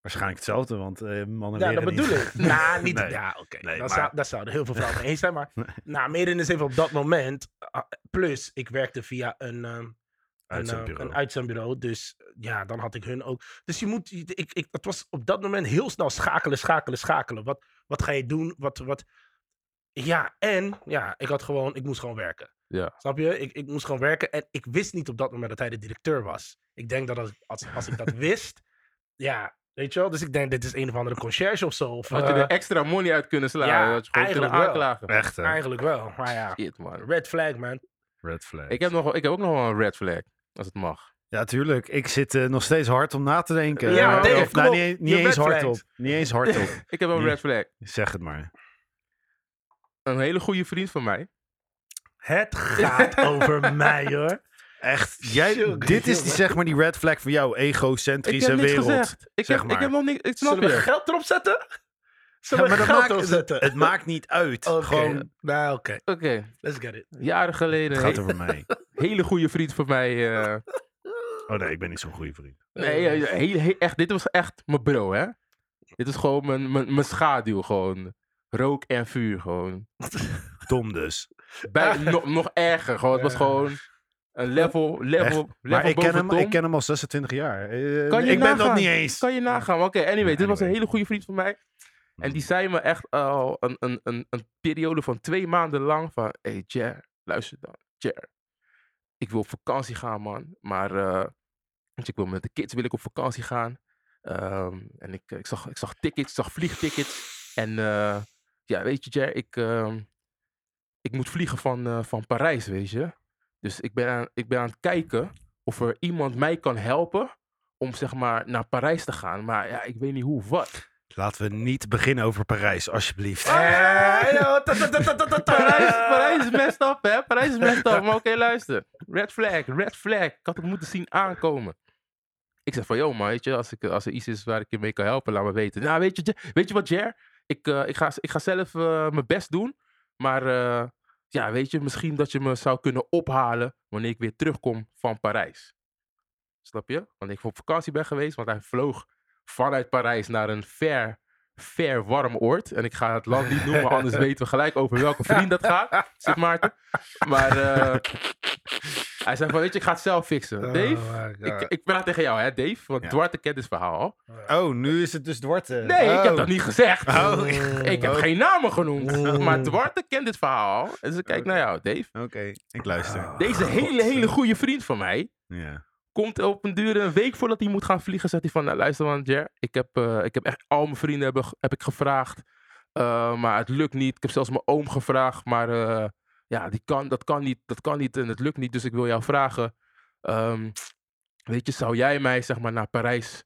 Speaker 3: Waarschijnlijk hetzelfde, want eh, mannen
Speaker 1: Ja,
Speaker 3: leren
Speaker 1: dat bedoel
Speaker 3: niet.
Speaker 1: ik. Nou, niet.
Speaker 3: Nee.
Speaker 1: Ja, oké.
Speaker 3: Nee,
Speaker 1: dat,
Speaker 3: maar-
Speaker 1: zou, dat zouden heel veel vrouwen mee eens zijn. Maar
Speaker 3: Nee.
Speaker 1: nou, meer in de zin van op dat moment. ah, plus, ik werkte via een, ehm
Speaker 3: Uit zo'n
Speaker 1: een, ehm,
Speaker 3: bureau.
Speaker 1: een uitzendbureau. Dus eh, ja, dan had ik hun ook. Dus je moet. je- Ik, ik, het was op dat moment heel snel schakelen, schakelen, schakelen. Wat, wat ga je doen? Wat, wat. Ja, en ja, ik had gewoon. Ik moest gewoon werken.
Speaker 2: Ja.
Speaker 1: Snap je? Ik, ik moest gewoon werken en ik wist niet op dat moment dat hij de directeur was. Ik denk dat als, als, als ik dat wist, ja, weet je wel? Dus ik denk, dit is een of andere conciërge of zo. Of,
Speaker 2: Had je
Speaker 1: eh,
Speaker 2: er extra money uit kunnen slaan.
Speaker 1: ja,
Speaker 2: dat je gewoon kunnen
Speaker 1: eigenlijk wel.
Speaker 2: aanklagen.
Speaker 3: Echt, hè?
Speaker 1: Eigenlijk wel, maar ja.
Speaker 2: Shit, man.
Speaker 1: Red flag, man.
Speaker 3: Red flag.
Speaker 2: Ik heb, nog, ik heb ook nog wel een red flag. Als het mag.
Speaker 3: Ja, tuurlijk. Ik zit eh, nog steeds hard om na te denken.
Speaker 1: Ja,
Speaker 3: Eh,
Speaker 1: Dave,
Speaker 3: of,
Speaker 1: kom
Speaker 3: nou,
Speaker 1: op.
Speaker 3: niet, niet
Speaker 1: Je
Speaker 3: eens
Speaker 1: red
Speaker 3: hardop.
Speaker 1: flags.
Speaker 3: Niet eens hardop.
Speaker 2: Ik heb wel een
Speaker 1: Hm.
Speaker 3: Die-
Speaker 2: red flag.
Speaker 3: zeg het maar.
Speaker 2: Een hele goede vriend van mij.
Speaker 1: Het gaat over mij, hoor.
Speaker 3: Echt, jij,
Speaker 1: Zulke
Speaker 3: dit is
Speaker 1: jongen.
Speaker 3: die, zeg maar die red flag van jou, egocentrische
Speaker 2: niks
Speaker 3: wereld.
Speaker 2: gezegd. Ik,
Speaker 3: zeg
Speaker 2: heb,
Speaker 3: maar.
Speaker 2: ik heb nog niks. Ik snap
Speaker 1: Zullen we
Speaker 2: je.
Speaker 1: geld erop zetten?
Speaker 3: Ja,
Speaker 1: Zullen we
Speaker 3: maar dat
Speaker 1: geld
Speaker 3: maakt-
Speaker 1: erop zetten?
Speaker 3: Het maakt niet uit.
Speaker 1: Oké. Ah,
Speaker 3: Gewoon,
Speaker 1: Nou, oké.
Speaker 2: Oké,
Speaker 1: Let's get it.
Speaker 2: jaren geleden.
Speaker 3: het gaat over mij.
Speaker 2: Een hele goede vriend van mij. eh,
Speaker 3: Oh nee, ik ben niet zo'n goede vriend.
Speaker 2: nee,
Speaker 1: Eh,
Speaker 2: eh, heel- heel- echt, dit was echt mijn bro, hè? Dit is gewoon mijn, mijn, mijn schaduw, gewoon. Rook en vuur, gewoon.
Speaker 3: Dom dus.
Speaker 2: Bij, nog- nog erger, gewoon. Het was
Speaker 1: Ja.
Speaker 2: gewoon een level,
Speaker 3: Echt.
Speaker 2: level,
Speaker 3: Maar
Speaker 2: level
Speaker 3: ik ken,
Speaker 2: boven
Speaker 3: hem,
Speaker 2: Tom.
Speaker 3: ik ken hem al 26 jaar. Eh,
Speaker 2: Kan je
Speaker 3: ik ben dat
Speaker 2: nagaan?
Speaker 3: niet eens.
Speaker 2: Kan je nagaan. Maar Oké, anyway, dit was een
Speaker 3: Anyway.
Speaker 2: hele goede vriend van mij.
Speaker 3: Mm.
Speaker 2: En
Speaker 3: Mhm.
Speaker 2: die zei me echt al een, een, een, een periode van twee maanden lang van... Hé, hey, Jer, luister dan. Jer, ik wil op vakantie gaan, man. Maar eh, weet je, ik wil met de kids wil ik op vakantie gaan. Ehm, en ik, ik, zag, ik zag tickets, ik zag vliegtickets. En eh, ja, weet je, Jer, ik, ehm, ik moet vliegen van, eh, van Parijs, weet je. Dus ik ben, aan, ik ben aan het kijken of er iemand mij kan helpen om zeg maar naar Parijs te gaan. Maar ja, ik weet niet hoe, wat.
Speaker 3: Laten we niet beginnen over Parijs, alsjeblieft.
Speaker 1: Eh, yo, ta- ta- ta- ta- ta- ta- ta. Oh
Speaker 2: Parijs, Parijs is messed up, hè? Parijs is messed up. Maar oké, luister. Red flag, red flag. Ik had het moeten zien aankomen. Ik zeg van, joh man, weet je, als, ik, als er iets is waar ik je mee kan helpen, laat me weten. Nou, weet je, Jer- weet je wat, Jer? Ik, eh, ik, ga, ik ga zelf eh, mijn best doen. Maar eh, ja, weet je, misschien dat je me zou kunnen ophalen wanneer ik weer terugkom van Parijs. Snap je? Wanneer ik op vakantie ben geweest, want hij vloog vanuit Parijs naar een ver, ver warm oord. En ik ga het land niet noemen, anders weten we gelijk over welke vriend dat gaat, Sint Maarten. Maar eh, hij zei van, weet je, ik ga het zelf fixen.
Speaker 1: Oh
Speaker 2: Dave,
Speaker 1: my
Speaker 2: ik,
Speaker 1: God.
Speaker 2: ik praat tegen jou, hè, Dave? Want
Speaker 3: Ja.
Speaker 2: Duarte kent dit verhaal al.
Speaker 3: Oh, nu is het dus Dwarte.
Speaker 2: Nee, ik heb
Speaker 3: Oh.
Speaker 2: dat niet gezegd.
Speaker 3: Oh.
Speaker 2: Ik heb
Speaker 3: Oh.
Speaker 2: geen namen genoemd.
Speaker 1: Oh.
Speaker 2: Maar Duarte kent dit verhaal. al. Dus ik
Speaker 3: Oh.
Speaker 2: kijk naar jou, Dave.
Speaker 3: Oké, ik luister.
Speaker 1: Oh.
Speaker 2: Deze hele, hele goede vriend van mij
Speaker 3: Ja.
Speaker 2: komt op een duur een week voordat hij moet gaan vliegen. Zegt hij van, nou, luister man, Jer, ik heb, eh, ik heb echt al mijn vrienden hebben, ge- heb ik gevraagd. eh, maar het lukt niet. Ik heb zelfs mijn oom gevraagd. Maar eh, ja, die kan, dat, kan niet, dat kan niet en het lukt niet. Dus ik wil jou vragen. ehm, weet je, zou jij mij zeg maar naar Parijs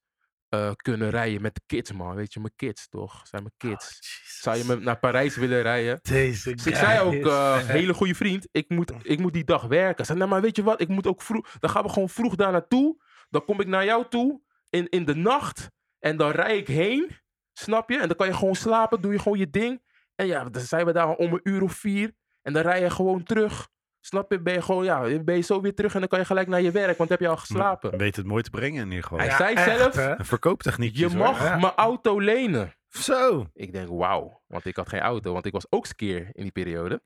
Speaker 2: eh, kunnen rijden met de kids, man? Weet je, mijn kids toch? Zijn mijn kids.
Speaker 1: Ah,
Speaker 2: zou je me naar Parijs willen rijden?
Speaker 1: Deze
Speaker 2: Dus ik zei ook, eh, hele goede vriend, ik moet, ik moet die dag werken. Zei, nou, maar weet je wat, ik moet ook vroeg, dan gaan we gewoon vroeg daar naartoe. Dan kom ik naar jou toe in, in de nacht en dan rij ik heen, snap je? En dan kan je gewoon slapen, doe je gewoon je ding. En ja, dan zijn we daar om een uur of vier en dan rij je gewoon terug. Snap je? Ben je gewoon, ja, ben je zo weer terug en dan kan je gelijk naar je werk, want dan heb je al geslapen.
Speaker 3: Weet het mooi te brengen in ieder geval.
Speaker 2: Hij zei zelf,
Speaker 3: Een verkooptechniek.
Speaker 2: je mag
Speaker 1: Ja.
Speaker 2: mijn auto lenen.
Speaker 3: Zo.
Speaker 2: Ik denk, wauw. Want ik had geen auto, want ik was ook skeer in die periode.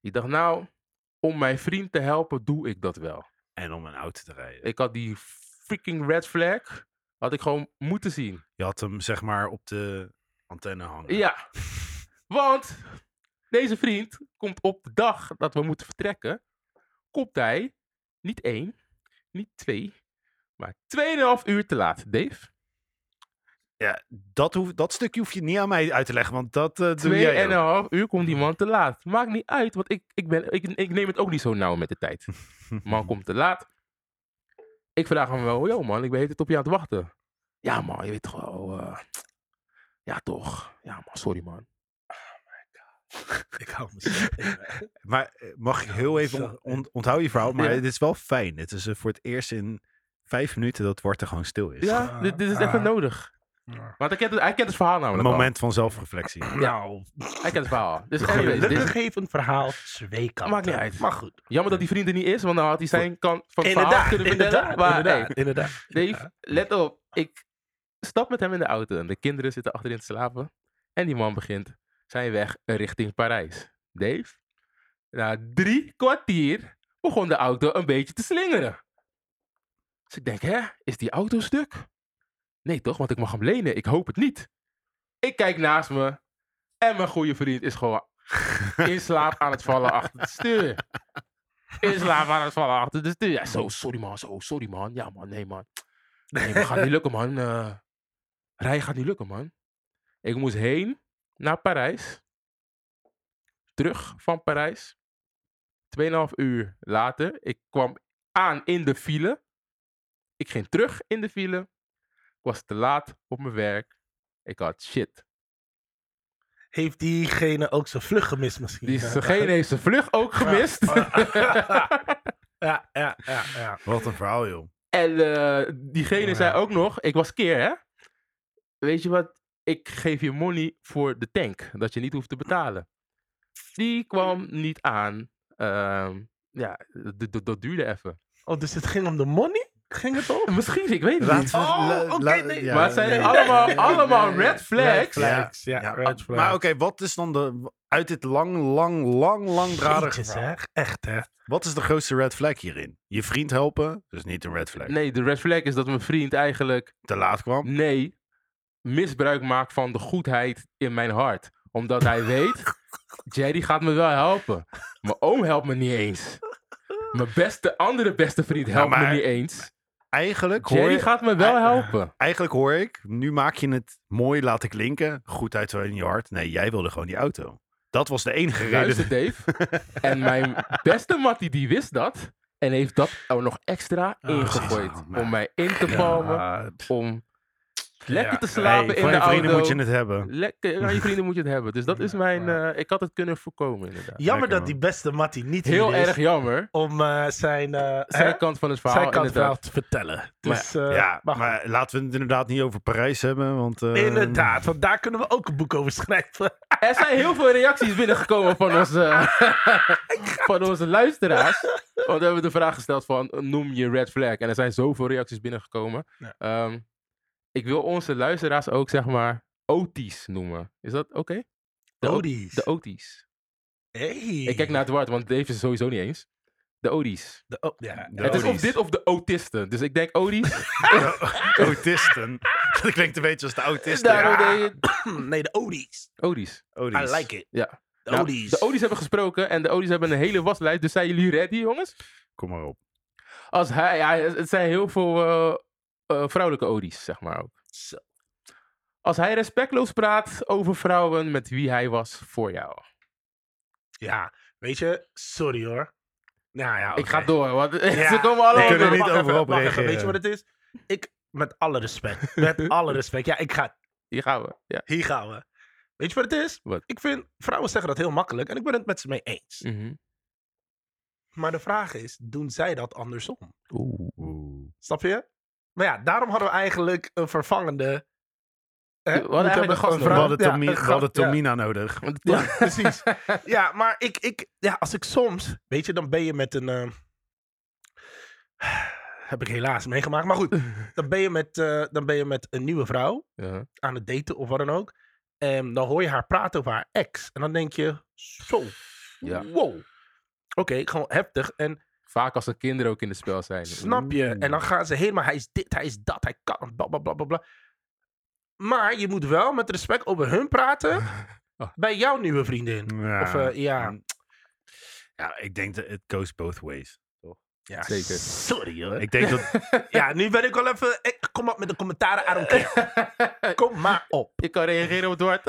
Speaker 2: Ik dacht, nou, om mijn vriend te helpen, doe ik dat wel.
Speaker 3: En om een auto te rijden.
Speaker 2: Ik had die freaking red flag, had ik gewoon moeten zien.
Speaker 3: Je had hem zeg maar op de antenne hangen.
Speaker 2: Ja, want deze vriend komt op de dag dat we moeten vertrekken, komt hij niet één, niet twee, maar 2,5 uur te laat, Dave.
Speaker 3: Ja, dat, hoef, dat stukje hoef je niet aan mij uit te leggen, want dat eh, doe
Speaker 2: Twee
Speaker 3: jij
Speaker 2: en een
Speaker 3: ook.
Speaker 2: half uur komt die man te laat. Maakt niet uit, want ik, ik, ben, ik, ik neem het ook niet zo nauw met de tijd. Man komt te laat. Ik vraag hem wel, yo man, ik ben het op je aan het wachten. Ja man, je weet toch wel. eh, ja toch. Ja man, sorry man.
Speaker 1: Ik hou mezelf.
Speaker 3: Maar eh, mag ik
Speaker 1: Nou,
Speaker 3: heel even on- on- onthoud je verhaal, maar
Speaker 2: Ja.
Speaker 3: dit is wel fijn. Het is eh, voor het eerst in vijf minuten dat Warte gewoon stil is.
Speaker 2: Ja, dit, dit is even
Speaker 1: Ah.
Speaker 2: nodig. Want hij kent, het, hij kent het verhaal
Speaker 3: Een
Speaker 2: namelijk al.
Speaker 3: moment van zelfreflectie.
Speaker 1: Nou,
Speaker 2: Hij kent het verhaal. Dus anyways, dit
Speaker 1: gelukkig
Speaker 2: is-
Speaker 1: heeft een verhaal twee kanten.
Speaker 2: Maakt niet uit.
Speaker 1: Maar goed.
Speaker 2: jammer dat die vriend er niet is, want dan had hij zijn kant van het verhaal
Speaker 1: Inderdaad,
Speaker 2: kunnen vertellen.
Speaker 1: inderdaad,
Speaker 2: maar, hey,
Speaker 1: inderdaad, inderdaad.
Speaker 2: Dave, let op. Ik stap met hem in de auto en de kinderen zitten achterin te slapen. En die man begint zijn weg richting Parijs. Dave, na drie kwartier begon de auto een beetje te slingeren. Dus ik denk, hè, is die auto stuk? Nee toch, want ik mag hem lenen. Ik hoop het niet. Ik kijk naast me en mijn goede vriend is gewoon In slaap aan het vallen achter het stuur. In slaap aan het vallen achter het stuur. Ja, zo, sorry man, zo, sorry man. Ja man, nee man. Nee, maar gaat niet lukken man. Eh rijden gaat niet lukken man. Ik moest heen naar Parijs. Terug van Parijs. 2,5 uur later. Ik kwam aan in de file. Ik ging terug in de file. Ik was te laat op mijn werk. Ik had shit.
Speaker 1: Heeft diegene ook zijn vlucht gemist misschien?
Speaker 2: Diegene heeft zijn vlucht ook gemist.
Speaker 1: Ja, ja, ja, ja.
Speaker 3: Wat een verhaal, joh.
Speaker 2: en eh, diegene
Speaker 1: Oh, Ja.
Speaker 2: zei ook nog, ik was keer hè. Weet je wat, ik geef je money voor de tank, dat je niet hoeft te betalen. Die kwam niet aan. Ehm, ja, d- d- dat duurde even.
Speaker 1: Oh, dus het ging om de money? Ging het om?
Speaker 2: Misschien, ik weet het niet.
Speaker 1: Oh,
Speaker 3: la-
Speaker 1: oké,
Speaker 3: la-
Speaker 1: Oh. nee.
Speaker 2: maar het zijn
Speaker 3: nee.
Speaker 2: allemaal,
Speaker 1: nee,
Speaker 2: allemaal
Speaker 1: nee,
Speaker 2: red flags.
Speaker 3: flags.
Speaker 1: ja,
Speaker 3: Ja,
Speaker 1: red flags.
Speaker 3: Maar oké, wat is dan de... Uit dit lang, lang, lang, langdradige
Speaker 1: Jeetjes,
Speaker 3: verhaal.
Speaker 1: hè? Echt, hè?
Speaker 3: Wat is de grootste red flag hierin? Je vriend helpen, dus niet een red flag.
Speaker 2: Nee, de red flag is dat mijn vriend eigenlijk,
Speaker 3: Te laat kwam.
Speaker 2: nee, misbruik maakt van de goedheid in mijn hart. Omdat hij weet, Jerry gaat me wel helpen. Mijn oom helpt me niet eens. Mijn beste, andere beste vriend helpt
Speaker 3: maar-
Speaker 2: me niet eens.
Speaker 3: Eigenlijk hoor,
Speaker 2: Jerry
Speaker 3: je,
Speaker 2: gaat me wel helpen.
Speaker 3: eigenlijk hoor ik, nu maak je het mooi, laat ik linken. Goed uit in je hart. Nee, jij wilde gewoon die auto. Dat was de enige reden.
Speaker 2: Luister, Dave. En mijn beste Mattie, die wist dat. En heeft dat er nog extra
Speaker 1: Ah,
Speaker 2: ingegooid.
Speaker 3: precies. Oh,
Speaker 2: om mij in te palmen. om lekker
Speaker 1: Ja,
Speaker 2: te slapen
Speaker 3: Nee,
Speaker 2: in
Speaker 3: van
Speaker 2: de
Speaker 3: je vrienden
Speaker 2: auto.
Speaker 3: moet je Ah, het hebben.
Speaker 2: Lekker, aan je vrienden moet je het hebben. Dus dat is
Speaker 1: Ja,
Speaker 2: mijn...
Speaker 1: wauw.
Speaker 2: eh, ik had het kunnen voorkomen, inderdaad.
Speaker 1: Jammer
Speaker 3: lekker,
Speaker 1: dat
Speaker 3: man.
Speaker 1: die beste Matty niet
Speaker 2: Heel
Speaker 1: hier is
Speaker 2: erg jammer.
Speaker 1: om eh, zijn, eh hè?
Speaker 2: Zijn kant van het verhaal,
Speaker 1: zijn kant verhaal
Speaker 2: inderdaad.
Speaker 1: te vertellen.
Speaker 2: Maar
Speaker 1: Dus, eh,
Speaker 3: ja,
Speaker 1: maar
Speaker 3: maar,
Speaker 1: goed.
Speaker 3: laten we het inderdaad niet over Parijs hebben, want... eh,
Speaker 1: Inderdaad, want daar kunnen we ook een boek over schrijven.
Speaker 2: Er zijn heel veel reacties binnengekomen van onze, van onze luisteraars. Want we hebben de vraag gesteld van, noem je red flag. En er zijn zoveel reacties binnengekomen.
Speaker 1: Ja.
Speaker 2: Ehm, ik wil onze luisteraars ook, zeg maar, OT's noemen. Is dat oké? De O-
Speaker 1: Odies.
Speaker 2: De OT's.
Speaker 1: Hey.
Speaker 2: Ik kijk naar Eduard, want Dave is er sowieso niet eens. De OD's.
Speaker 1: De, oh, ja.
Speaker 3: De
Speaker 2: het is of
Speaker 3: Odies.
Speaker 2: dit of de autisten. Dus ik denk OD's.
Speaker 3: Autisten. Dat klinkt een beetje als de autisten.
Speaker 2: Daarom
Speaker 3: Ja.
Speaker 2: deed je
Speaker 1: Hmm, Nee, de Odies.
Speaker 2: OD's.
Speaker 3: Odies.
Speaker 1: I like it.
Speaker 2: Ja.
Speaker 1: De
Speaker 2: Nou,
Speaker 1: Odies.
Speaker 2: De OD's hebben gesproken en de OD's hebben een hele waslijst. Dus zijn jullie ready, jongens?
Speaker 3: Kom maar op.
Speaker 2: Als hij, ja, het zijn heel veel eh, eh, vrouwelijke OD's, zeg maar ook.
Speaker 1: Zo.
Speaker 2: Als hij respectloos praat over vrouwen met wie hij was voor jou.
Speaker 1: Ja, weet je, sorry hoor. Nou ja,
Speaker 2: Ik ga
Speaker 1: oké.
Speaker 2: door, want
Speaker 1: Ja,
Speaker 2: ze komen allemaal
Speaker 1: nee,
Speaker 2: door.
Speaker 3: kunnen
Speaker 1: maar
Speaker 3: niet
Speaker 1: wacht even,
Speaker 3: overal op
Speaker 1: wacht even, Weet je
Speaker 3: reageren.
Speaker 1: wat het is? Ik, met alle respect, met alle respect. Ja, ik ga,
Speaker 2: Hier gaan we. Ja.
Speaker 1: hier gaan we. Weet je wat het is?
Speaker 2: Wat?
Speaker 1: Ik vind, vrouwen zeggen dat heel makkelijk en ik ben het met ze mee eens.
Speaker 2: Mhm.
Speaker 1: Maar de vraag is, doen zij dat andersom?
Speaker 2: Oeh.
Speaker 3: Oeh.
Speaker 1: Snap je? Maar ja, daarom hadden we eigenlijk een vervangende... Hè?
Speaker 2: hadden
Speaker 1: Moeten we
Speaker 2: eigenlijk een gast
Speaker 1: een
Speaker 3: We
Speaker 2: Vrouw-
Speaker 3: hadden,
Speaker 1: ja,
Speaker 3: Tomi-
Speaker 1: een
Speaker 3: we
Speaker 1: gast,
Speaker 3: hadden
Speaker 1: ja.
Speaker 3: Tomina nodig.
Speaker 1: Ja, precies. Ja, maar ik, ik, ja, als ik soms, weet je, dan ben je met een. eh, heb ik helaas meegemaakt. Maar goed, dan ben, je met, eh, dan ben je met een nieuwe vrouw
Speaker 2: Ja.
Speaker 1: aan het daten of wat dan ook. En dan hoor je haar praten over haar ex. En dan denk je, zo,
Speaker 2: Ja.
Speaker 1: wow. Oké, gewoon heftig. En
Speaker 2: Vaak als er kinderen ook in het spel zijn.
Speaker 1: snap je? En dan gaan ze helemaal, hij is dit, hij is dat, hij kan, bla bla bla bla bla. Maar je moet wel met respect over hun praten
Speaker 2: Oh.
Speaker 1: bij jouw nieuwe vriendin.
Speaker 3: Ja.
Speaker 1: Of eh, ja,
Speaker 3: ja, ik denk dat het goes both ways.
Speaker 1: ja,
Speaker 2: Zeker.
Speaker 1: sorry hoor.
Speaker 3: Ik denk dat...
Speaker 1: Ja, nu ben ik wel even. Ik, kom op met de commentaren, I don't care. Kom maar op.
Speaker 2: Je kan reageren op Dwart.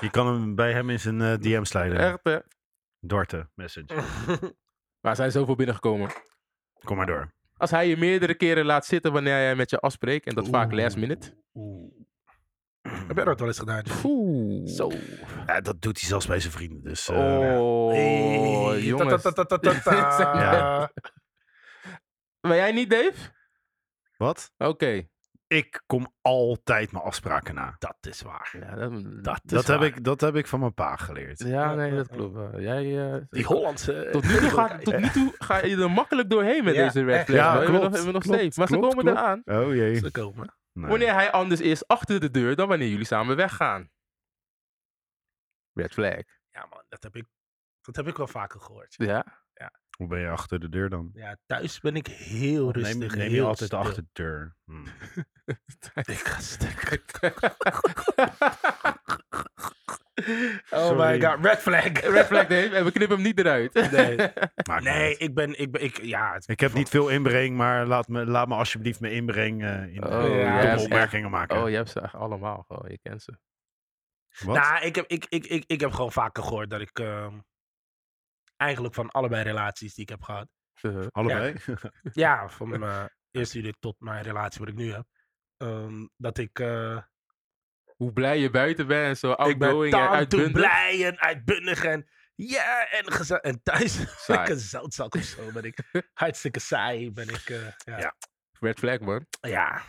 Speaker 3: Je kan hem bij hem in zijn eh, DM slijden.
Speaker 2: Echt, hè?
Speaker 3: Dorte, message.
Speaker 2: Maar er zijn zoveel binnengekomen.
Speaker 3: Kom maar door.
Speaker 2: Als hij je meerdere keren laat zitten wanneer jij met je afspreekt. En dat vaak last minute.
Speaker 1: Heb jij dat wel eens gedaan? Jeff?
Speaker 2: Oeh. Zo.
Speaker 3: Ja, dat doet hij zelfs bij zijn vrienden, dus... eh,
Speaker 2: Oh,
Speaker 1: Hey,
Speaker 2: jongens.
Speaker 1: tatatatatata.
Speaker 3: Ja.
Speaker 2: Ben jij niet, Dave?
Speaker 3: Wat?
Speaker 2: Oké.
Speaker 3: Ik kom altijd mijn afspraken na.
Speaker 1: Dat is waar.
Speaker 2: Ja, dat,
Speaker 1: Dat, is
Speaker 3: Dat heb,
Speaker 1: waar.
Speaker 3: ik, dat heb ik van mijn pa geleerd.
Speaker 2: ja, nee, dat klopt. wel. Jij, eh,
Speaker 1: Die Hollandse.
Speaker 2: tot nu, toe ga, tot nu toe ga je er makkelijk doorheen met
Speaker 1: Ja,
Speaker 2: deze red
Speaker 1: echt.
Speaker 2: flags.
Speaker 3: Ja,
Speaker 2: maar we hebben
Speaker 3: klopt,
Speaker 2: nog- we hebben nog
Speaker 3: klopt,
Speaker 2: steeds. Maar ze
Speaker 3: klopt,
Speaker 2: komen
Speaker 3: klopt.
Speaker 2: eraan.
Speaker 3: Oh jee. Nou,
Speaker 1: Ze komen.
Speaker 3: Nee.
Speaker 2: Wanneer hij anders is achter de deur dan wanneer jullie samen weggaan. Red flag.
Speaker 1: Ja, man, dat heb ik, dat heb ik wel vaker gehoord.
Speaker 2: Ja.
Speaker 3: Hoe ben je achter de deur dan?
Speaker 1: Ja, thuis ben ik heel rustig.
Speaker 3: Neem, neem je
Speaker 1: heel
Speaker 3: altijd de
Speaker 1: stil.
Speaker 3: achter de deur. Hm.
Speaker 1: Ik ga stuk. Oh
Speaker 3: Sorry.
Speaker 1: my god, red flag.
Speaker 2: Red flag, nee, we knippen hem niet eruit.
Speaker 1: Nee,
Speaker 3: Maakt niet
Speaker 1: nee
Speaker 3: uit.
Speaker 1: ik ben, ik ben, ik, ja, het-
Speaker 3: Ik heb niet veel inbreng, maar laat me, laat me alsjeblieft mijn inbreng eh, in de-
Speaker 2: Oh,
Speaker 3: domme
Speaker 1: ja, dat
Speaker 2: is
Speaker 3: opmerkingen maken.
Speaker 2: Oh, je hebt ze echt allemaal. Oh, je kent ze.
Speaker 3: Wat?
Speaker 1: Nou, ik heb, ik, ik, ik, ik heb gewoon vaker gehoord dat ik ehm, eigenlijk van allebei relaties die ik heb gehad.
Speaker 2: Eh,
Speaker 3: Allebei?
Speaker 1: Ja, van mijn eh, eerste huwelijk tot mijn relatie wat ik nu heb. ehm, dat ik, eh,
Speaker 2: hoe blij je buiten bent en zo
Speaker 1: ik ben
Speaker 2: outgoing en
Speaker 1: tam toe
Speaker 2: uitbundig.
Speaker 1: blij en uitbundig en ja, en gezellig. En thuis ben ik
Speaker 2: Saai.
Speaker 1: een zoutzak of zo ben ik. Hartstikke saai ben ik. eh, ja.
Speaker 3: Ja.
Speaker 1: Ja.
Speaker 2: Red flag, man.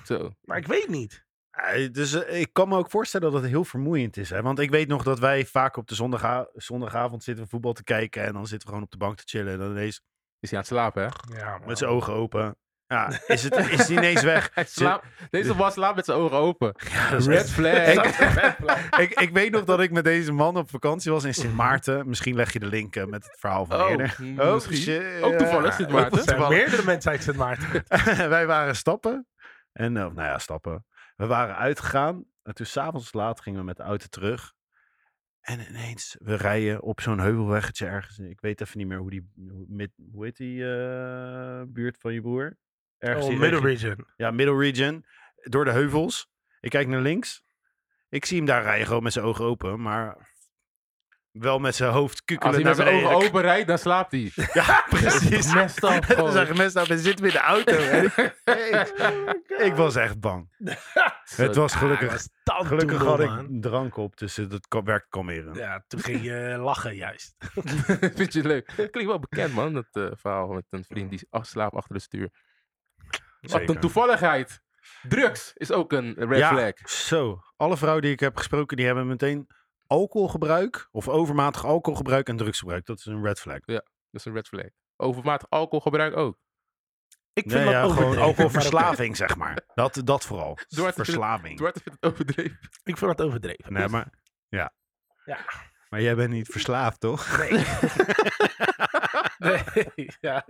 Speaker 2: Zo.
Speaker 1: maar ik weet niet.
Speaker 3: Eh, Dus eh, ik kan me ook voorstellen dat het heel vermoeiend is. Hè? Want ik weet nog dat wij vaak op de zondaga- zondagavond zitten we voetbal te kijken. En dan zitten we gewoon op de bank te chillen. En dan ineens
Speaker 2: Is hij aan het slapen, hè?
Speaker 1: Ja, man.
Speaker 3: met zijn ogen open. Ja, is, het, is die ineens weg?
Speaker 2: Hij slaapt. Deze man slaapt met zijn ogen open.
Speaker 3: Ja, dat is
Speaker 2: Red
Speaker 3: echt-
Speaker 2: flag.
Speaker 3: ik, ik weet nog dat ik met deze man op vakantie was in
Speaker 2: Mhm.
Speaker 3: Sint Maarten. Misschien leg je de link eh, met het verhaal van eerder.
Speaker 2: mm,
Speaker 3: Oh,
Speaker 2: misschien.
Speaker 3: shit.
Speaker 2: Ook toevallig, Sint Maarten.
Speaker 1: Er zijn meerdere mensen uit Sint Maarten.
Speaker 3: Wij waren stappen. En, eh, nou ja, stappen. We waren uitgegaan. En toen s'avonds laat gingen we met de auto terug. En ineens, we rijden op zo'n heuvelweggetje ergens. Ik weet even niet meer hoe die... Hoe, met, hoe heet die eh, buurt van je broer? Ergens
Speaker 1: Oh,
Speaker 3: die
Speaker 1: Middle
Speaker 3: regio-
Speaker 1: Region.
Speaker 3: Ja, Middle Region. Door de heuvels. Ik kijk naar links. Ik zie hem daar rijden, gewoon met zijn ogen open. Maar wel met zijn hoofd
Speaker 2: Als
Speaker 3: kukkelen
Speaker 2: hij
Speaker 3: naar
Speaker 2: met zijn
Speaker 3: beneden.
Speaker 2: ogen open rijdt, dan slaapt hij.
Speaker 3: Ja, precies.
Speaker 2: Messed up,
Speaker 3: We
Speaker 2: gewoon.
Speaker 3: zagen mensen, nou, we zitten weer in de auto. En ik-
Speaker 2: Oh
Speaker 3: ik was echt bang. Het was Dus
Speaker 1: Ah,
Speaker 3: gelukkig. Gelukkig had ik drank op, dus eh, dat kan- werkt kalmeren.
Speaker 1: Ja, toen ging je lachen juist.
Speaker 2: Vind je het leuk? Klinkt wel bekend, man, dat eh, verhaal met een vriend die af- slaapt achter het stuur. Wat
Speaker 3: Zeker.
Speaker 2: een toevalligheid. Drugs is ook een red
Speaker 3: Ja,
Speaker 2: flag.
Speaker 3: Zo, alle vrouwen die ik heb gesproken, die hebben meteen alcoholgebruik of overmatig alcoholgebruik en drugsgebruik. Dat is een red flag.
Speaker 2: Dat is een red flag. Overmatig alcoholgebruik ook.
Speaker 1: Ik vind
Speaker 3: Nee,
Speaker 1: dat
Speaker 3: ja, gewoon
Speaker 1: overdreven, maar oké.
Speaker 3: alcoholverslaving, zeg maar. Dat, dat vooral.
Speaker 2: Dwarte-
Speaker 3: Verslaving.
Speaker 2: Duarte vindt het overdreven.
Speaker 1: Ik vind dat overdreven.
Speaker 3: Nee, maar ja.
Speaker 1: Ja.
Speaker 3: Maar jij bent niet verslaafd, toch?
Speaker 1: Nee, ja.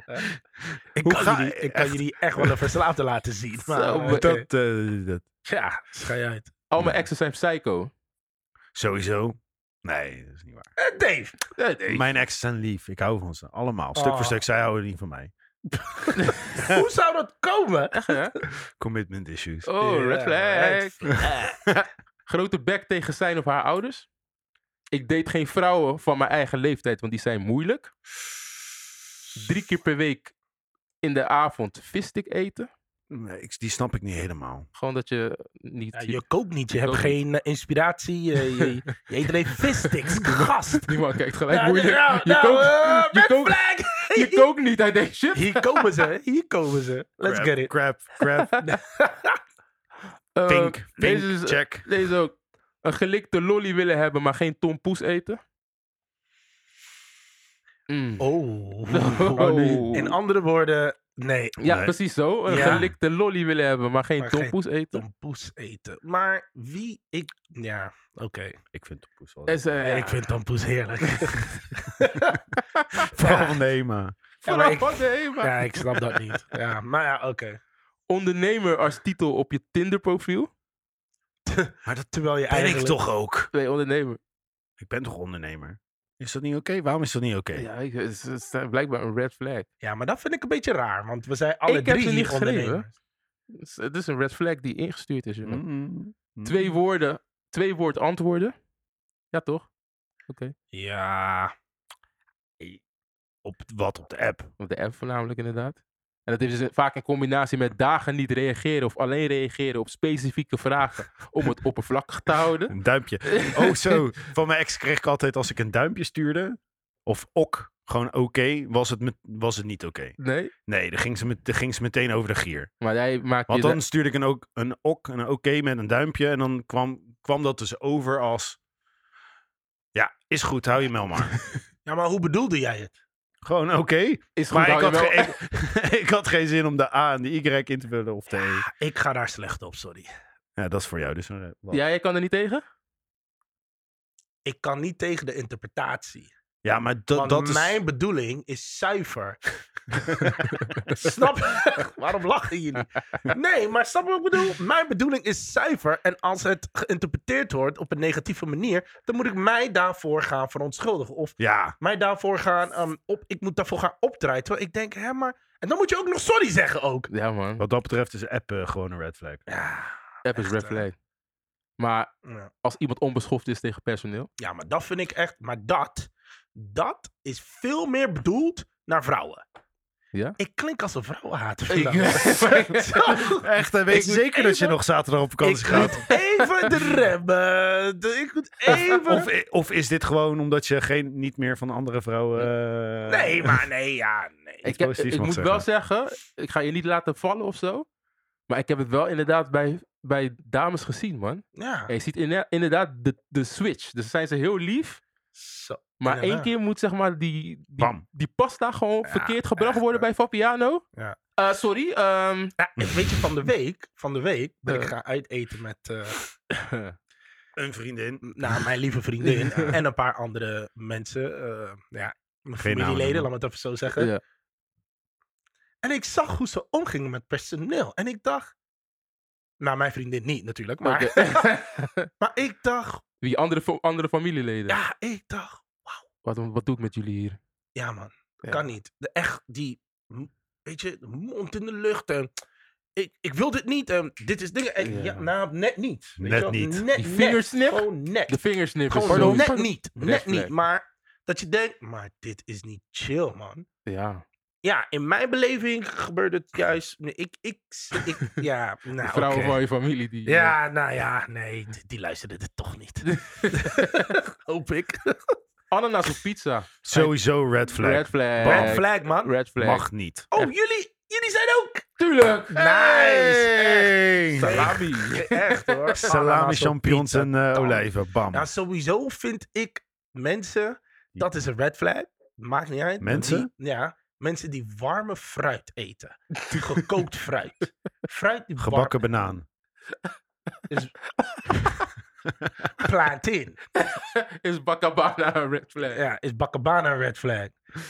Speaker 1: Ik
Speaker 3: Hoe
Speaker 1: kan,
Speaker 3: ga-
Speaker 1: jullie, ik kan
Speaker 3: echt?
Speaker 1: jullie echt wel een verslaafde laten zien. Maar,
Speaker 2: Zo,
Speaker 1: eh,
Speaker 2: maar-
Speaker 1: oké.
Speaker 3: Dat, eh, dat-
Speaker 1: Ja, schei uit.
Speaker 2: Al mijn exen zijn psycho.
Speaker 3: sowieso. Nee, dat is niet waar.
Speaker 1: Eh, Dave,
Speaker 2: Nee, nee.
Speaker 3: Mijn exen zijn lief. Ik hou van ze. Allemaal. Stuk voor
Speaker 1: Ah.
Speaker 3: stuk. Zij houden niet van mij.
Speaker 1: hoe zou dat komen?
Speaker 2: Hè?
Speaker 3: Commitment issues.
Speaker 2: Oh,
Speaker 1: Ja,
Speaker 2: red
Speaker 1: red
Speaker 2: flag. Grote bek tegen zijn of haar ouders. Ik date geen vrouwen van mijn eigen leeftijd, want die zijn moeilijk. Drie keer per week in de avond vistik eten.
Speaker 3: Nee, ik, die snap ik niet helemaal.
Speaker 2: Gewoon dat je niet...
Speaker 1: Ja, je kookt niet, je hebt
Speaker 2: kookt
Speaker 1: geen eh, inspiratie. eh, je, je eet alleen vissticks, gast.
Speaker 2: Niemand kijkt gelijk
Speaker 1: Nou,
Speaker 2: moeilijk.
Speaker 1: nou,
Speaker 2: je,
Speaker 1: nou,
Speaker 2: kookt,
Speaker 1: eh,
Speaker 2: je
Speaker 1: red
Speaker 2: kookt-
Speaker 1: flag.
Speaker 2: je kookt niet uit deze shit.
Speaker 1: Hier komen ze, hier komen ze. Let's
Speaker 3: Crap,
Speaker 1: get it. Oh.
Speaker 3: Crap, crap,
Speaker 2: Eh,
Speaker 3: pink, pink,
Speaker 2: deze is-
Speaker 3: check.
Speaker 2: Deze ook. Een gelikte lolly willen hebben, maar geen tompoes eten. Mm.
Speaker 1: Oh.
Speaker 3: Oh, nee.
Speaker 1: In andere woorden, nee.
Speaker 2: Ja,
Speaker 3: Nee.
Speaker 2: precies zo. Een
Speaker 1: Ja.
Speaker 2: gelikte lolly willen hebben, maar geen
Speaker 1: Maar geen
Speaker 2: tompoes eten.
Speaker 1: Een poes eten. Maar wie ik. Ja, oké.
Speaker 3: Ik vind het poes wel
Speaker 2: En ze- ja.
Speaker 1: Ik vind tampoes heerlijk.
Speaker 3: Vooral van de HEMA.
Speaker 1: Ja,
Speaker 2: Vanaf
Speaker 1: maar ik-
Speaker 2: wat, hé, maar-
Speaker 1: ja, ik snap dat niet. Ja, maar ja, oké.
Speaker 2: Ondernemer als titel op je Tinder profiel.
Speaker 1: Maar dat terwijl je
Speaker 3: Ben ik
Speaker 1: eigenlijk...
Speaker 3: toch ook?
Speaker 2: Nee, ondernemer.
Speaker 3: Ik ben toch ondernemer? Is dat niet oké? Waarom is dat niet oké?
Speaker 2: Ja, ik- het is, het is blijkbaar een red flag.
Speaker 1: Ja, maar dat vind ik een beetje raar, want we zijn alle
Speaker 2: Ik heb
Speaker 1: drie
Speaker 2: ze niet
Speaker 1: niet
Speaker 2: geschreven.
Speaker 1: ondernemers.
Speaker 2: Het is, het is een red flag die ingestuurd is. jongen.
Speaker 3: Mm.
Speaker 2: Twee woorden, twee woord antwoorden. Ja, toch?
Speaker 1: Ja,
Speaker 3: Op wat op de app?
Speaker 2: Op de app voornamelijk inderdaad. En dat is dus vaak in combinatie met dagen niet reageren of alleen reageren op specifieke vragen om het oppervlakkig te houden.
Speaker 3: Een duimpje. Oh, zo. Van mijn ex kreeg ik altijd als ik een duimpje stuurde. Of ok, gewoon oké, was, het met- was het niet oké.
Speaker 2: Nee,
Speaker 3: Nee, dan ging, ze met, dan ging ze meteen over de gier.
Speaker 2: maar jij maakt
Speaker 3: Want
Speaker 2: je...
Speaker 3: dan stuurde ik een, ook, een ok, een oké met een duimpje. En dan kwam, kwam dat dus over als... Ja, is goed, hou je mel maar.
Speaker 1: ja maar hoe bedoelde jij het?
Speaker 3: Gewoon oké.
Speaker 2: is goed,
Speaker 3: Maar ik
Speaker 2: hou
Speaker 3: had,
Speaker 2: je wel-
Speaker 3: ge- ik, ik had geen zin om de A en de Y in te vullen of de E.
Speaker 1: Ik ga daar slecht op, sorry.
Speaker 3: Ja, dat is voor jou dus een red flag.
Speaker 2: Ja, jij kan er niet tegen?
Speaker 1: Ik kan niet tegen de interpretatie.
Speaker 3: Ja, maar dat,
Speaker 1: Want
Speaker 3: dat is...
Speaker 1: mijn bedoeling is zuiver. snap je? Waarom lachen jullie? Nee, maar snap je wat ik bedoel? Mijn bedoeling is zuiver. En als het geïnterpreteerd wordt op een negatieve manier, dan moet ik mij daarvoor gaan verontschuldigen. Of
Speaker 3: Ja,
Speaker 1: mij daarvoor gaan ehm, op. Ik moet daarvoor gaan opdraaien. Terwijl ik denk, hè, maar. En dan moet je ook nog sorry zeggen ook.
Speaker 2: Ja, man.
Speaker 3: wat dat betreft is app eh, gewoon een red flag.
Speaker 1: Ja,
Speaker 2: App is
Speaker 1: echt,
Speaker 2: red
Speaker 1: eh.
Speaker 2: flag. Maar
Speaker 1: ja.
Speaker 2: als iemand onbeschoft is tegen personeel,
Speaker 1: Ja, maar dat vind ik echt. Maar dat, dat is veel meer bedoeld naar vrouwen.
Speaker 2: Ja?
Speaker 1: Ik klink als een vrouwenhater.
Speaker 2: Ik-
Speaker 1: vandaag. Zo.
Speaker 3: Echt, dan weet
Speaker 1: Ik
Speaker 3: je
Speaker 1: moet
Speaker 3: zeker dat je
Speaker 1: even-
Speaker 3: nog zaterdag op vakantie
Speaker 1: Ik
Speaker 3: gaat.
Speaker 1: moet even de remmen. De- Ik moet even.
Speaker 3: Of, of is dit gewoon omdat je geen, niet meer van andere vrouwen... eh,
Speaker 1: nee, maar nee, ja, nee.
Speaker 2: ik, heb-
Speaker 3: positiefs
Speaker 2: ik
Speaker 3: mag
Speaker 2: moet wel zeggen, ik ga je niet laten vallen of zo. Maar ik heb het wel inderdaad bij, bij dames gezien, man.
Speaker 1: Ja.
Speaker 2: En je ziet inne- inderdaad de, de switch. Dus zijn ze heel lief.
Speaker 1: Zo.
Speaker 2: Maar één
Speaker 1: Inderdaad.
Speaker 2: keer moet zeg maar die, die,
Speaker 3: Bam.
Speaker 2: die pasta gewoon
Speaker 1: Ja,
Speaker 2: verkeerd gebracht
Speaker 1: echt,
Speaker 2: worden
Speaker 1: hoor.
Speaker 2: bij Fabiano.
Speaker 1: Ja.
Speaker 2: Eh, sorry, ehm,
Speaker 1: Ja, ik weet je, van de week, van de week ben ik
Speaker 2: Eh.
Speaker 1: gaan uiteten met eh,
Speaker 3: Een vriendin.
Speaker 1: nou, mijn lieve vriendin en een paar andere mensen. eh, ja, mijn
Speaker 3: Geen namen
Speaker 1: familieleden,
Speaker 3: noemen.
Speaker 1: laat me het even zo zeggen.
Speaker 2: Ja.
Speaker 1: En ik zag hoe ze omgingen met personeel. En ik dacht. Nou, mijn vriendin niet natuurlijk. Maar,
Speaker 2: oké.
Speaker 1: maar ik dacht.
Speaker 2: Wie andere, fa- andere familieleden.
Speaker 1: Ja, ik dacht.
Speaker 2: Wat, wat doe ik met jullie hier?
Speaker 1: Ja, man.
Speaker 2: Ja.
Speaker 1: Kan niet. De, echt die. m- Weet je, de mond in de lucht. En, ik, ik wil dit niet. En, dit is dingen. En, ja.
Speaker 2: Ja.
Speaker 1: nou, net niet. weet
Speaker 3: Net
Speaker 1: je wel.
Speaker 3: niet.
Speaker 1: Net,
Speaker 2: Die
Speaker 1: net.
Speaker 2: vingersnip?
Speaker 1: Gewoon net.
Speaker 2: De vingersnippers.
Speaker 1: Gewoon
Speaker 2: sowieso.
Speaker 1: net niet. Net
Speaker 2: Red
Speaker 1: niet.
Speaker 2: flag.
Speaker 1: Maar dat je denkt. Maar dit is niet chill, man.
Speaker 2: Ja.
Speaker 1: Ja, in mijn beleving gebeurt het juist. nee, Ik, ik, ik, ja,
Speaker 2: De
Speaker 1: nou,
Speaker 2: vrouwen
Speaker 1: oké.
Speaker 2: van je familie. Die,
Speaker 1: Ja, nou ja, nee, d- die luisterden het toch niet. Hoop ik.
Speaker 2: eh, Ananas op pizza.
Speaker 3: Sowieso red flag.
Speaker 2: Red flag.
Speaker 1: Red flag, man.
Speaker 2: Red flag.
Speaker 3: Mag niet.
Speaker 1: Oh, jullie, jullie zijn ook.
Speaker 2: Tuurlijk.
Speaker 1: Nice.
Speaker 3: Hey.
Speaker 2: Salami.
Speaker 1: Echt hoor.
Speaker 3: Salami,
Speaker 1: Ananas op
Speaker 3: champignons
Speaker 1: pizza.
Speaker 3: en eh, olijven. Bam.
Speaker 1: Nou, sowieso vind ik mensen, dat is een red flag. Maakt niet uit.
Speaker 3: Mensen?
Speaker 1: Die- ja, mensen die warme fruit eten. Gekookt fruit. Fruit die warm-
Speaker 3: Gebakken banaan.
Speaker 1: plantain.
Speaker 2: Is bakabana een red flag?
Speaker 1: Ja, is Baccabana een red flag?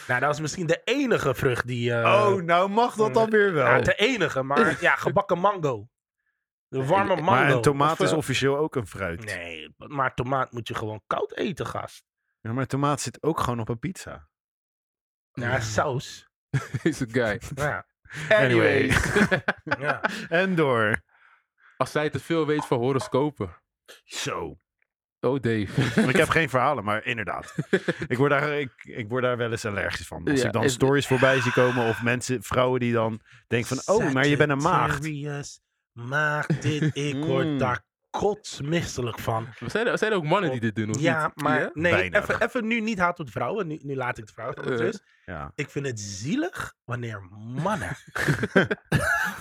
Speaker 1: Nou, dat is misschien de enige vrucht die... eh,
Speaker 3: nou mag
Speaker 1: dat dan
Speaker 3: weer
Speaker 1: nou, de enige, maar ja, gebakken mango. De warme mango.
Speaker 3: Eh, Maar een tomaat
Speaker 1: Of,
Speaker 3: is
Speaker 1: eh,
Speaker 3: officieel ook een fruit.
Speaker 1: Nee, maar tomaat moet je gewoon koud eten, gast.
Speaker 3: Ja, maar tomaat zit ook gewoon op een pizza.
Speaker 1: Ja, saus.
Speaker 2: Is een guy.
Speaker 1: Ja,
Speaker 3: Anyway.
Speaker 1: ja.
Speaker 3: En door.
Speaker 2: Als zij te veel weet van horoscopen.
Speaker 3: Zo.
Speaker 2: Oh, Dave.
Speaker 3: Ik heb geen verhalen, maar inderdaad. ik, word daar, ik, ik word daar wel eens allergisch van. Als
Speaker 2: Ja,
Speaker 3: ik dan
Speaker 2: is-
Speaker 3: stories voorbij zie komen of mensen, vrouwen die dan denken van... Oh, maar je bent een maagd.
Speaker 1: Sagittarius, maagd dit, ik word
Speaker 3: Mm.
Speaker 1: daar kotsmisselijk van.
Speaker 2: Zijn er, zijn er ook mannen die dit doen? Of
Speaker 1: Ja,
Speaker 2: niet?
Speaker 1: maar nee,
Speaker 3: Weinig.
Speaker 1: even, even nu niet haat op de vrouwen. Nu, nu laat ik de vrouwen. want het
Speaker 2: Eh.
Speaker 1: is-
Speaker 3: Ja.
Speaker 1: Ik vind het zielig wanneer mannen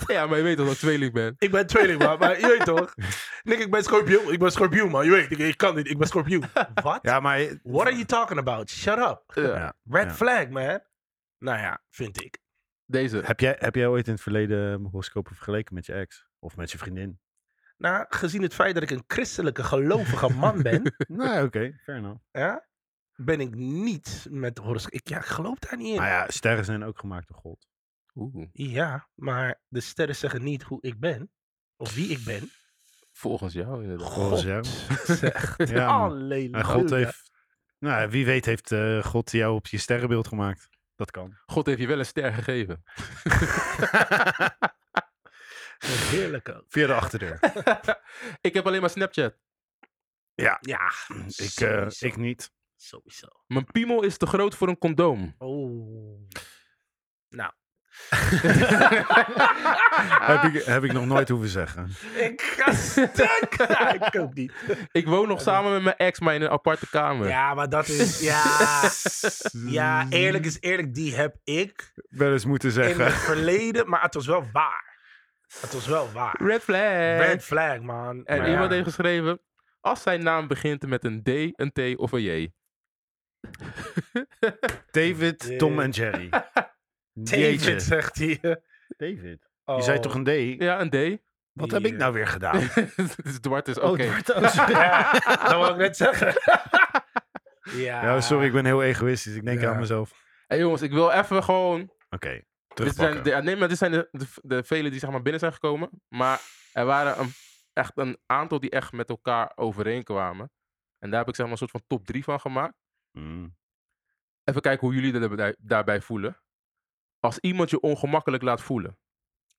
Speaker 2: Ja, maar je weet toch dat ik tweeling ben.
Speaker 1: Ik ben tweeling, man. Maar je weet toch? Nick, ik ben schorpioen. Ik ben schorpioen, man. Je weet, ik, ik kan niet. Ik ben schorpioen. Wat?
Speaker 3: ja, maar...
Speaker 1: What are you talking about? Shut up.
Speaker 2: Ja.
Speaker 3: Ja.
Speaker 1: Red
Speaker 3: Ja.
Speaker 1: flag, man. Nou ja, vind ik.
Speaker 2: Deze.
Speaker 3: Heb jij, heb jij ooit in het verleden horoscopen vergeleken met je ex? Of met je vriendin?
Speaker 1: Nou, gezien het feit dat ik een christelijke gelovige man ben,
Speaker 3: nou, oké. Fair enough.
Speaker 1: ja, ben ik niet met horoscoop. Ik, ja, ik geloof daar niet in.
Speaker 3: Maar Nou ja, sterren zijn ook gemaakt door God.
Speaker 2: Oeh.
Speaker 1: Ja, maar de sterren zeggen niet hoe ik ben. Of wie ik ben.
Speaker 2: Volgens jou inderdaad.
Speaker 1: God
Speaker 3: ja.
Speaker 1: zegt.
Speaker 3: Ja, man.
Speaker 1: Alleluia.
Speaker 3: En God heeft... Nou, wie weet heeft eh, God jou op je sterrenbeeld gemaakt. Dat kan.
Speaker 2: God heeft je wel een ster gegeven.
Speaker 1: Heerlijk ook.
Speaker 3: Via de achterdeur.
Speaker 2: ik heb alleen maar Snapchat.
Speaker 1: Ja,
Speaker 3: ik, eh,
Speaker 1: sowieso.
Speaker 3: ik niet.
Speaker 1: sowieso.
Speaker 2: Mijn piemel is te groot voor een condoom.
Speaker 1: Oh. Nou.
Speaker 3: heb, ik, heb ik nog nooit hoeven zeggen.
Speaker 1: ik ga stuk. Ja, ik ook niet.
Speaker 2: Ik woon nog samen met mijn ex, maar in een aparte kamer.
Speaker 1: Ja, maar dat is. Ja. Ja, eerlijk is eerlijk. Die heb ik
Speaker 3: Wel eens moeten
Speaker 1: in het
Speaker 3: zeggen.
Speaker 1: verleden. Maar het was wel waar. Het was wel waar.
Speaker 2: Red flag.
Speaker 1: Red flag, man.
Speaker 2: En
Speaker 1: Maar
Speaker 2: iemand
Speaker 1: ja.
Speaker 2: heeft geschreven... Als zijn naam begint met een D, een T of een J.
Speaker 3: David, Tom en Jerry. Jeetje.
Speaker 1: David, zegt hij. eh,
Speaker 3: David.
Speaker 1: Oh.
Speaker 3: Je zei toch een D?
Speaker 2: Ja, een D.
Speaker 3: Wat heb ik nou weer gedaan?
Speaker 2: dus Dwart is oké.
Speaker 3: Oh, het wordt- oh, sorry.
Speaker 1: Ja, dat wou ik net zeggen. Ja,
Speaker 3: Ja, sorry, ik ben heel egoïstisch. Ik denk
Speaker 1: Ja.
Speaker 3: aan mezelf. Oké,
Speaker 2: Hey jongens, ik wil even gewoon Dit zijn,
Speaker 3: terugpakken.
Speaker 2: de, ja, nee, maar dit zijn de, de, de velen die zeg maar binnen zijn gekomen. Maar er waren een, echt een aantal die echt met elkaar overeenkwamen. En daar heb ik zeg maar een soort van top 3 van gemaakt.
Speaker 3: Mm.
Speaker 2: Even kijken hoe jullie daarbij, daarbij voelen. Als iemand je ongemakkelijk laat voelen,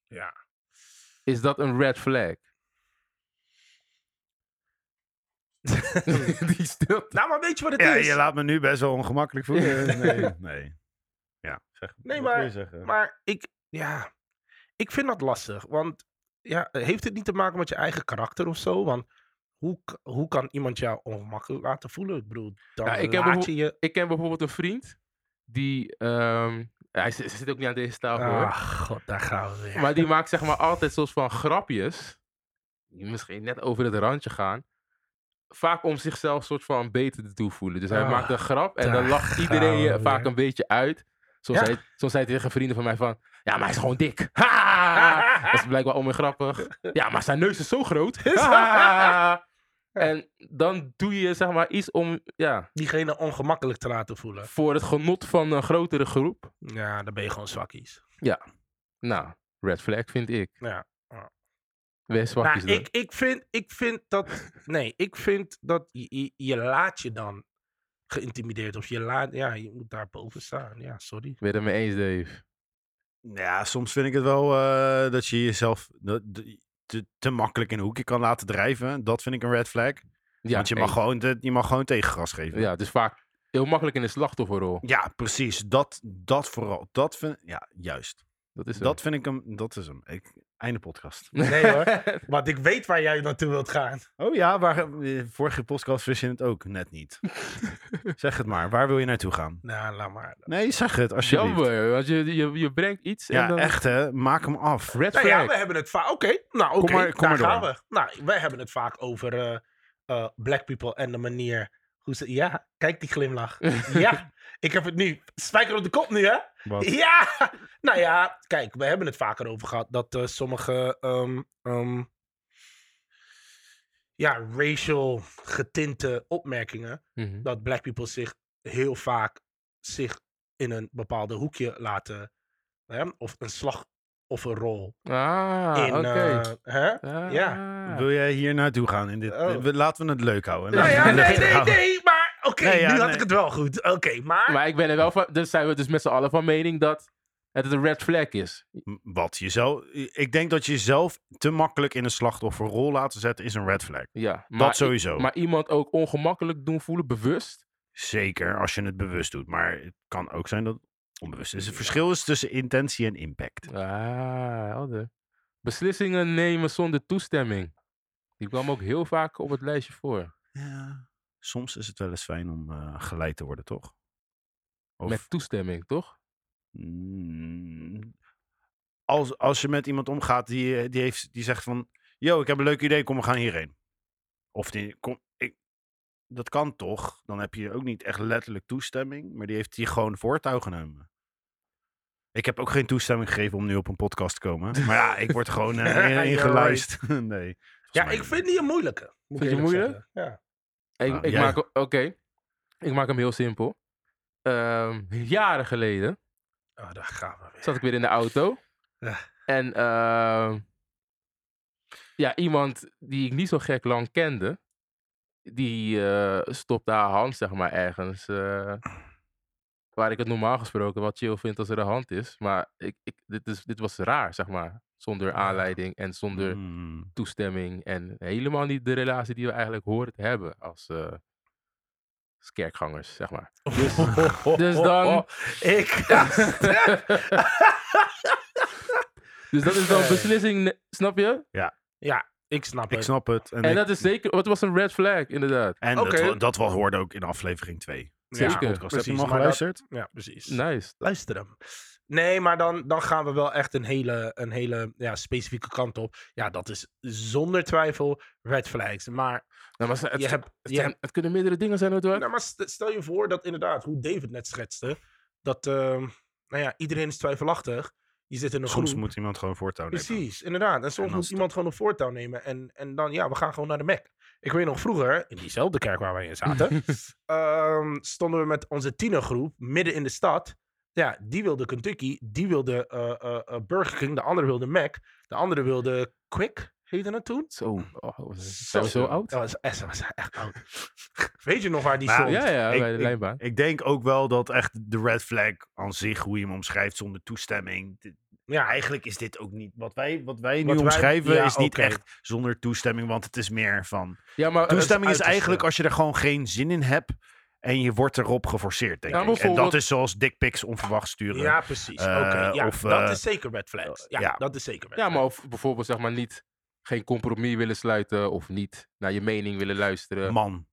Speaker 1: Ja.
Speaker 2: is dat een red flag? die stilte.
Speaker 1: Nou, maar weet je wat het
Speaker 3: Ja,
Speaker 1: is?
Speaker 3: je laat me nu best wel ongemakkelijk voelen. Nee, nee. Ja, zeg.
Speaker 1: Nee,
Speaker 3: wat wil
Speaker 1: maar-
Speaker 3: je zeggen?
Speaker 1: Maar ik, ja, ik vind dat lastig. Want ja, heeft het niet te maken met je eigen karakter of zo? Want hoe, k- hoe kan iemand jou ongemakkelijk laten voelen? Ik bedoel, dan
Speaker 2: Ja, ik heb
Speaker 1: laat je je...
Speaker 2: Ik ken bijvoorbeeld een vriend die. ehm, hij zit, zit ook niet aan deze tafel. hoor.
Speaker 1: Ah, god, daar gaan we weer.
Speaker 2: Maar die maakt zeg maar altijd soort van grapjes. Die misschien net over het randje gaan. Vaak om zichzelf soort van beter te toevoelen. Dus hij
Speaker 1: Ah,
Speaker 2: maakt een grap en dan
Speaker 1: daar
Speaker 2: lacht iedereen
Speaker 1: gaan
Speaker 2: je
Speaker 1: we
Speaker 2: vaak
Speaker 1: weer.
Speaker 2: een beetje uit. Soms,
Speaker 1: Ja.
Speaker 2: zei, soms zei hij tegen vrienden van mij van... Ja, maar hij is gewoon dik. Ha! Dat is blijkbaar onweer grappig. Ja, maar zijn neus is zo groot. Ha! En dan doe je zeg maar iets om... Ja,
Speaker 1: Diegene ongemakkelijk te laten voelen.
Speaker 2: voor het genot van een grotere groep.
Speaker 1: Ja, dan ben je gewoon zwakkies.
Speaker 2: Nou, red flag vind ik.
Speaker 1: Ja.
Speaker 2: Wees
Speaker 1: Nou,
Speaker 2: zwakjes dan.
Speaker 1: ik, ik, vind, ik vind dat... Nee, ik vind dat je, je, je laat je dan geïntimideerd. Of je laat... Ja, je moet daar boven staan. Ja, sorry.
Speaker 2: Ben je het mee eens, Dave?
Speaker 3: Ja, soms vind ik het wel eh, dat je jezelf dat- d- te, te makkelijk in een hoekje kan laten drijven. Dat vind ik een red flag.
Speaker 2: Ja,
Speaker 3: Want je mag,
Speaker 2: eens.
Speaker 3: gewoon, te- je mag gewoon tegengas geven.
Speaker 2: Ja, het is vaak heel makkelijk in de slachtofferrol.
Speaker 3: Ja, precies. Dat, dat vooral. Dat vind, ja, juist.
Speaker 2: Dat is zo.
Speaker 3: Dat vind ik hem. Dat is hem. Ik, einde podcast.
Speaker 1: Nee hoor. Want ik weet waar jij naartoe wilt gaan.
Speaker 3: Oh ja, waar, eh, vorige podcast wist je het ook net niet. zeg het maar. Waar wil je naartoe gaan?
Speaker 1: Nou, laat maar.
Speaker 3: Nee, zeg het alsjeblieft.
Speaker 2: Jammer, want je, je, je brengt iets en
Speaker 3: Ja,
Speaker 2: dan...
Speaker 3: echt hè. Maak hem af.
Speaker 2: Red
Speaker 1: Nou
Speaker 2: flag.
Speaker 1: ja, we hebben het vaak. Oké, nou oké,
Speaker 3: Kom maar- kom
Speaker 1: daar
Speaker 3: maar door.
Speaker 1: gaan we. Nou, wij hebben het vaak over eh, eh, black people en de manier hoe ze... Ja, kijk die glimlach. ja, ik heb het nu. Spijker op de kop nu, hè?
Speaker 3: Wat?
Speaker 1: Ja! Nou ja, kijk, we hebben het vaker over gehad dat eh, sommige... ehm, ehm, ja, racial getinte opmerkingen
Speaker 2: Mhm.
Speaker 1: dat black people zich heel vaak zich in een bepaalde hoekje laten. Hè? Of een slachtofferrol.
Speaker 2: Ah,
Speaker 1: in,
Speaker 2: oké.
Speaker 1: eh, hè? ja.
Speaker 2: Ah.
Speaker 3: Wil jij hier naartoe gaan? In dit,
Speaker 1: Oh.
Speaker 3: we- Laten we het leuk houden.
Speaker 1: Nou
Speaker 3: Laten we
Speaker 1: ja,
Speaker 3: het
Speaker 1: nee,
Speaker 3: luchtig
Speaker 1: nee,
Speaker 3: houden.
Speaker 1: nee, maar oké,
Speaker 3: Nee, ja,
Speaker 1: nu had
Speaker 3: nee.
Speaker 1: ik het wel goed. Oké, maar,
Speaker 2: Maar ik ben er wel van... Dus zijn we dus met z'n allen van mening dat het een red flag is.
Speaker 3: M- Wat jezelf. Ik denk dat je jezelf te makkelijk in een slachtofferrol laten zetten is een red flag.
Speaker 2: Ja. Maar,
Speaker 3: dat sowieso.
Speaker 2: Maar iemand ook ongemakkelijk doen voelen, bewust.
Speaker 3: Zeker als je het bewust doet. Maar het kan ook zijn dat het onbewust is. Het verschil is tussen intentie en impact.
Speaker 2: Ah, helder. Beslissingen nemen zonder toestemming. Die kwam ook heel vaak op het lijstje voor.
Speaker 3: Ja. Soms is het wel eens fijn om eh, geleid te worden, toch? Of,
Speaker 2: Met toestemming, toch?
Speaker 3: Mm, als, als je met iemand omgaat die, eh, die, heeft, die zegt van... Yo, ik heb een leuk idee, kom, we gaan hierheen. Of die... Kom, ik, dat kan toch? Dan heb je ook niet echt letterlijk toestemming. Maar die heeft die gewoon voortouw genomen. Ik heb ook geen toestemming gegeven om nu op een podcast te komen. Maar ja, ik word gewoon eh, in-
Speaker 1: You're
Speaker 3: ingeluisterd. nee.
Speaker 1: ja,
Speaker 3: volgens mij
Speaker 1: ik vind die een moeilijke. moet ik
Speaker 2: Vind je
Speaker 1: eerlijk
Speaker 2: moeilijk?
Speaker 1: zeggen. Ja.
Speaker 2: Ik,
Speaker 3: Nou,
Speaker 2: ik
Speaker 3: jij-
Speaker 2: maak, oké. Ik maak hem heel simpel. Ehm, jaren geleden
Speaker 1: Oh, daar gaan we weer.
Speaker 2: zat ik weer in de auto.
Speaker 1: Ja.
Speaker 2: En ehm, ja, iemand die ik niet zo gek lang kende, die eh, stopte haar hand, zeg maar, ergens. eh, waar ik het normaal gesproken wat chill vind als er een hand is. Maar ik, ik, dit, is, dit was raar, zeg maar. Zonder
Speaker 1: Ja.
Speaker 2: aanleiding en zonder
Speaker 3: Mm.
Speaker 2: toestemming. En helemaal niet de relatie die we eigenlijk horen te hebben als, eh, als kerkgangers, zeg maar.
Speaker 1: Oh,
Speaker 2: dus dan-
Speaker 1: Ik.
Speaker 2: Dus dat is dan
Speaker 1: Hey.
Speaker 2: beslissing, ne- snap je?
Speaker 1: ja, ik snap
Speaker 3: Ik
Speaker 1: het.
Speaker 3: snap het. En,
Speaker 2: En
Speaker 3: ik-
Speaker 2: dat is zeker, wat was een red flag, inderdaad.
Speaker 3: en
Speaker 1: Oké.
Speaker 3: dat, wa- dat wel hoorde ook in aflevering 2.
Speaker 1: Ja,
Speaker 2: Zeker.
Speaker 3: podcast. heb je hem
Speaker 1: precies,
Speaker 3: al
Speaker 1: maar dat-
Speaker 3: geluisterd?
Speaker 1: ja, precies.
Speaker 2: Nice.
Speaker 1: luister hem. Nee, maar dan, dan gaan we wel echt een hele, een hele ja, specifieke kant op. Ja, dat is zonder twijfel red flags. Maar,
Speaker 2: Nou, maar ze- het,
Speaker 1: je hebt,
Speaker 2: het,
Speaker 1: je
Speaker 2: zijn-
Speaker 1: hebt,
Speaker 2: het kunnen meerdere dingen zijn, hoor.
Speaker 1: nou, maar st- stel je voor dat inderdaad, hoe David net schetste, dat ehm, nou ja, iedereen is twijfelachtig. Je zit in een
Speaker 3: Soms
Speaker 1: groep.
Speaker 3: moet iemand gewoon voortouw nemen.
Speaker 1: Precies, inderdaad. En soms
Speaker 3: dan
Speaker 1: moet
Speaker 3: stop.
Speaker 1: iemand gewoon een voortouw nemen. En, en dan, ja, we gaan gewoon naar de Mac. Ik weet nog vroeger, in diezelfde kerk waar wij in zaten, ehm, stonden we met onze tienergroep midden in de stad. Ja, die wilde Kentucky, die wilde eh, eh, eh, Burger King, de andere wilde Mac, de andere wilde Quick, heette dat toen?
Speaker 2: Zo. Oh, was- zijn we zo oud?
Speaker 1: Dat was, echt- dat was echt oud. weet je nog waar die
Speaker 3: Maar-
Speaker 1: stond?
Speaker 2: Ja, ja,
Speaker 3: Ik-
Speaker 2: bij de
Speaker 3: ik-
Speaker 2: lijnbaan.
Speaker 3: Ik denk ook wel dat echt de red flag aan zich, hoe je hem omschrijft zonder toestemming. d-
Speaker 1: Ja,
Speaker 3: Eigenlijk is dit ook niet. Wat wij, wat wij nu
Speaker 1: Wat wij-
Speaker 3: omschrijven
Speaker 1: ja,
Speaker 3: is niet
Speaker 1: oké.
Speaker 3: echt zonder toestemming, want het is meer van.
Speaker 2: Ja, maar, eh,
Speaker 3: Toestemming is
Speaker 2: uiterste.
Speaker 3: eigenlijk als je er gewoon geen zin in hebt en je wordt erop geforceerd, denk
Speaker 2: Ja,
Speaker 3: ik. En dat
Speaker 2: bijvoorbeeld-
Speaker 3: is zoals dickpics onverwacht sturen.
Speaker 1: ja precies. Oké,
Speaker 3: Eh,
Speaker 1: ja,
Speaker 3: of,
Speaker 1: dat
Speaker 3: eh,
Speaker 1: is zeker red flags. Ja,
Speaker 3: ja.
Speaker 1: dat is zeker red
Speaker 2: Ja, maar
Speaker 1: flags.
Speaker 2: of bijvoorbeeld zeg maar niet geen compromis willen sluiten of niet naar je mening willen luisteren.
Speaker 3: Man,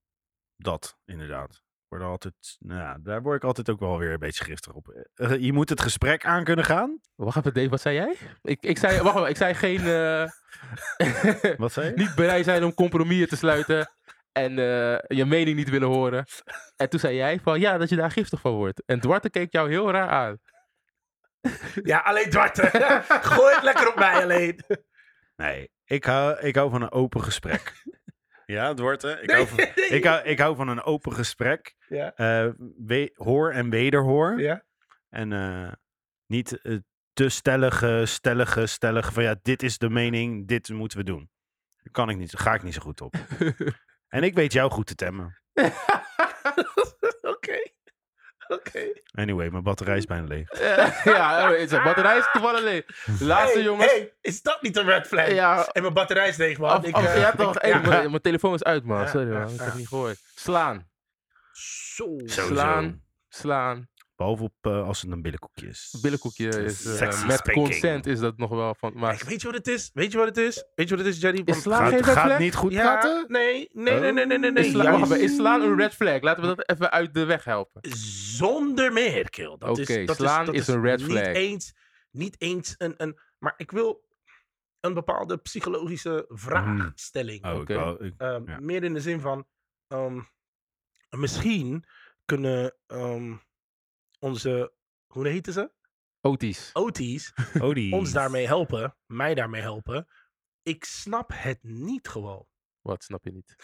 Speaker 3: dat inderdaad. Ik Word er altijd, nou, ja, daar word ik altijd ook wel weer een beetje giftig op. Eh, je moet het gesprek aan kunnen gaan.
Speaker 2: Wacht even, Dave, wat zei jij? Ik, ik zei, wacht even, ik zei geen... eh,
Speaker 3: Wat zei je?
Speaker 2: niet bereid zijn om compromissen te sluiten en eh, je mening niet willen horen. En toen zei jij van, ja, dat je daar giftig van wordt. En Duarte keek jou heel raar aan.
Speaker 1: Ja, alleen Dwarte. Gooi het lekker op mij alleen.
Speaker 3: Nee, ik hou, ik hou van een open gesprek. ja, Dwarte, ik, hou van, ik, hou, ik hou van een open gesprek.
Speaker 1: Ja.
Speaker 3: Eh, we- hoor en wederhoor.
Speaker 1: Ja.
Speaker 3: En eh, niet eh, te stellige, stellige, stellige van ja, dit is de mening, dit moeten we doen. Daar kan ik niet, daar ga ik niet zo goed op. en ik weet jou goed te temmen.
Speaker 1: Oké. Oké.
Speaker 3: Anyway, mijn batterij is bijna leeg.
Speaker 2: Eh, ja, eh, is- batterij is toevallig leeg. Laatste
Speaker 1: Hey,
Speaker 2: jongens.
Speaker 1: hey, is dat niet een red flag?
Speaker 2: Ja,
Speaker 1: En mijn batterij is leeg, man.
Speaker 2: af,
Speaker 1: Ik,
Speaker 2: af-
Speaker 1: eh,
Speaker 2: ja, toch,
Speaker 1: ik-
Speaker 2: hey,
Speaker 1: ja.
Speaker 2: mijn, mijn telefoon is uit man,
Speaker 1: Ja,
Speaker 2: sorry man,
Speaker 1: ja,
Speaker 2: ik
Speaker 1: ja.
Speaker 2: heb het niet gehoord. Slaan,
Speaker 1: Zo.
Speaker 3: Sowieso.
Speaker 2: Slaan. slaan,
Speaker 3: Behalve op, eh, als het een billenkoekje is.
Speaker 2: billenkoekje is, eh,
Speaker 3: Sexy
Speaker 2: met
Speaker 3: speaking.
Speaker 2: consent is dat nog wel van,
Speaker 1: Kijk,
Speaker 2: maar
Speaker 1: weet je wat het is? Weet je wat het is? Weet je wat het is, Jerry?
Speaker 2: is slaan geen
Speaker 3: Gaat,
Speaker 2: red
Speaker 3: gaat
Speaker 2: flag?
Speaker 3: niet goed
Speaker 1: ja,
Speaker 3: praten?
Speaker 1: nee, nee, nee, nee, nee, nee, nee.
Speaker 2: Is, sla- wacht
Speaker 1: juist.
Speaker 2: even, is slaan een red flag? Laten we dat even uit de weg helpen.
Speaker 1: Zonder meer, kill. Dat
Speaker 2: Oké,
Speaker 1: is, dat
Speaker 2: slaan
Speaker 1: is, dat
Speaker 2: is een red
Speaker 1: niet
Speaker 2: flag.
Speaker 1: Eens, niet eens een, een... Maar ik wil een bepaalde psychologische
Speaker 3: Hmm.
Speaker 1: vraagstelling.
Speaker 3: Oh,
Speaker 2: Oké.
Speaker 3: ik wou- ik-
Speaker 1: Ehm,
Speaker 3: Ja.
Speaker 1: Meer in de zin van, ehm, misschien kunnen ehm, onze, hoe heette ze?
Speaker 2: Otis.
Speaker 1: OT's
Speaker 3: Odie.
Speaker 1: ons daarmee helpen, mij daarmee helpen. Ik snap het niet gewoon.
Speaker 2: Wat snap je niet?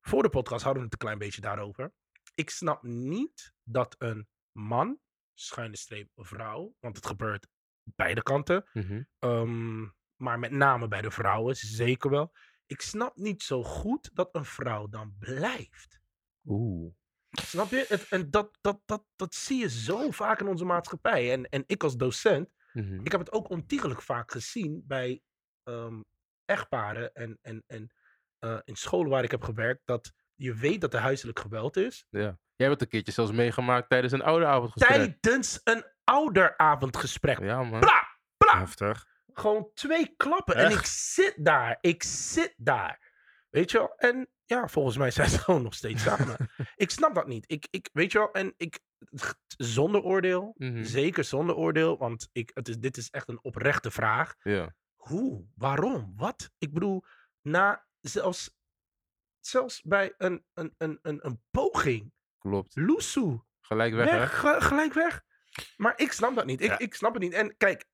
Speaker 1: Voor de podcast hadden we het een klein beetje daarover. Ik snap niet dat een man, schuine streep vrouw, want het gebeurt beide kanten,
Speaker 2: Mhm.
Speaker 1: Ehm, maar met name bij de vrouwen, zeker wel. Ik snap niet zo goed dat een vrouw dan blijft.
Speaker 2: Oeh.
Speaker 1: Snap je? Het- en dat, dat, dat, dat zie je zo vaak in onze maatschappij. En, en ik als docent,
Speaker 2: Mhm.
Speaker 1: ik heb het ook ontiegelijk vaak gezien bij ehm, echtparen en, en, en eh, in scholen waar ik heb gewerkt, dat je weet dat er huiselijk geweld is.
Speaker 2: Jij hebt het een keertje zelfs meegemaakt tijdens een ouderavondgesprek.
Speaker 1: Tijdens een ouderavondgesprek.
Speaker 2: Ja, man.
Speaker 1: Bra!
Speaker 3: Ah. Heftig.
Speaker 1: Gewoon twee klappen. En
Speaker 3: Echt?
Speaker 1: ik zit daar. Ik zit daar. Weet je wel? En ja, volgens mij zijn ze gewoon nog steeds samen. ik snap dat niet. Ik, ik, weet je wel? En ik, zonder oordeel.
Speaker 2: Mhm.
Speaker 1: Zeker zonder oordeel. Want ik, het is, dit is echt een oprechte vraag.
Speaker 2: Ja.
Speaker 1: Hoe? Waarom? Wat? Ik bedoel, na zelfs, zelfs bij een, een, een, een, een poging.
Speaker 2: Klopt.
Speaker 1: Loesoe.
Speaker 2: Gelijk weg,
Speaker 1: Weg,
Speaker 2: hè?
Speaker 1: ge- gelijk weg. Maar ik snap dat niet. Ik,
Speaker 3: Ja.
Speaker 1: ik snap het niet. En kijk,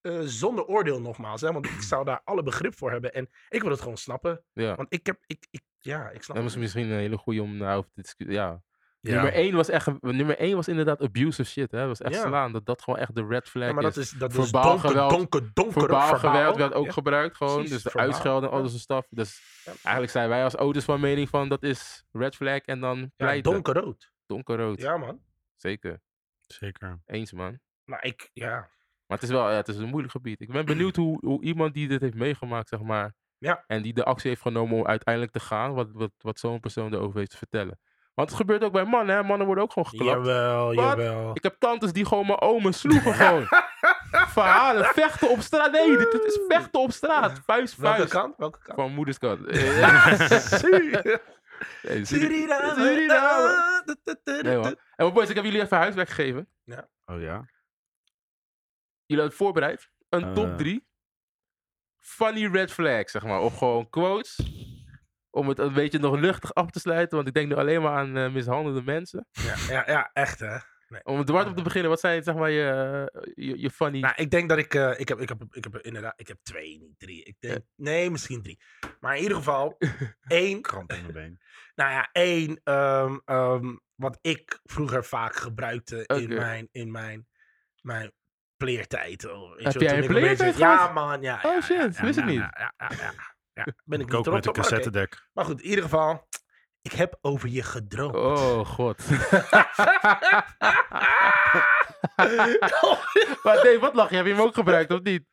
Speaker 1: eh, zonder oordeel nogmaals, hè, want ik zou daar alle begrip voor hebben. En ik wil het gewoon snappen.
Speaker 2: Ja.
Speaker 1: Want ik heb, ik, ik, ja, ik snap het
Speaker 2: Dat was
Speaker 1: niet.
Speaker 2: misschien een hele goede om nou over te discussiëren. Ja.
Speaker 1: Ja.
Speaker 2: Nummer, één was echt, nummer één was inderdaad abusive shit, hè? Dat was echt
Speaker 1: Ja.
Speaker 2: slaan. Dat dat gewoon echt de red flag
Speaker 1: Ja, maar dat
Speaker 2: is.
Speaker 1: is, dat is
Speaker 2: Verbaal
Speaker 1: donker,
Speaker 2: geweld.
Speaker 1: donker, donker.
Speaker 2: Verbaal geweld werd ook
Speaker 1: Ja.
Speaker 2: gebruikt gewoon.
Speaker 1: Precies,
Speaker 2: dus de
Speaker 1: verbaal,
Speaker 2: uitschelden en
Speaker 1: ja.
Speaker 2: al deze staf. Dus
Speaker 1: Ja.
Speaker 2: eigenlijk zijn wij als ouders van mening van dat is red flag en dan
Speaker 1: Ja,
Speaker 2: pleiten.
Speaker 1: donkerrood.
Speaker 2: Donkerrood.
Speaker 1: Ja, man.
Speaker 2: Zeker.
Speaker 3: Zeker.
Speaker 2: Eens, man.
Speaker 1: Maar ik, ja.
Speaker 2: Maar het is wel ja, het is een moeilijk gebied. Ik ben benieuwd hoe, hoe iemand die dit heeft meegemaakt, zeg maar.
Speaker 1: Ja.
Speaker 2: En die de actie heeft genomen om uiteindelijk te gaan. Wat, wat, wat zo'n persoon erover heeft te vertellen. Want het gebeurt ook bij mannen, hè? Mannen worden ook gewoon geklapt.
Speaker 1: Jawel,
Speaker 2: Wat?
Speaker 1: jawel.
Speaker 2: Ik heb tantes die gewoon mijn omen sloegen gewoon. Verhalen, vechten op straat. Nee, dit, dit is vechten op straat. Vuist,
Speaker 1: Welke
Speaker 2: vuist.
Speaker 1: kant? Welke kant?
Speaker 2: Van moederskant. Nee, Suri-
Speaker 1: Suriname.
Speaker 2: Suriname. Nee, man.
Speaker 1: Suriname.
Speaker 2: En maar boys, ik heb jullie even huiswerk gegeven.
Speaker 3: Oh ja.
Speaker 2: Jullie hadden het voorbereid. Een
Speaker 3: Eh.
Speaker 2: top 3. Funny red flags, zeg maar. Of gewoon quotes. Om het een beetje nog luchtig af te sluiten. Want ik denk nu alleen maar aan eh, mishandelde mensen.
Speaker 1: Ja, ja, ja, echt hè. Nee.
Speaker 2: Om dwars
Speaker 3: Ah.
Speaker 2: op te beginnen, wat zijn zeg maar je, eh, je, je funny...
Speaker 1: Nou, ik denk dat ik, eh, ik, heb, ik, heb, ik heb inderdaad, ik heb twee, niet drie. Ik denk, nee, misschien drie. Maar in ieder geval, één,
Speaker 3: Kramp in mijn been.
Speaker 1: nou ja, één, ehm, ehm, wat ik vroeger vaak gebruikte in
Speaker 2: Oké.
Speaker 1: mijn, in mijn, mijn pleertijd. oh, weet je
Speaker 2: Heb
Speaker 1: wel,
Speaker 2: jij
Speaker 1: toen
Speaker 2: een
Speaker 1: ik een beetje-
Speaker 2: pleertijd
Speaker 1: Ja,
Speaker 2: gehad?
Speaker 1: man, ja.
Speaker 2: Oh
Speaker 1: ja,
Speaker 2: shit,
Speaker 1: ja,
Speaker 2: wist ik
Speaker 1: ja,
Speaker 2: niet.
Speaker 1: Ja, ja, ja, ja, ja. Ben ik
Speaker 3: Ik
Speaker 1: niet
Speaker 3: ook
Speaker 1: trots
Speaker 3: met een
Speaker 1: op, maar oké.
Speaker 3: cassettedek.
Speaker 1: Maar goed, in ieder geval, ik heb over je gedroomd.
Speaker 2: Oh, god.
Speaker 1: Ah!
Speaker 2: maar Dave, wat lach je? Heb je hem ook gebruikt of niet?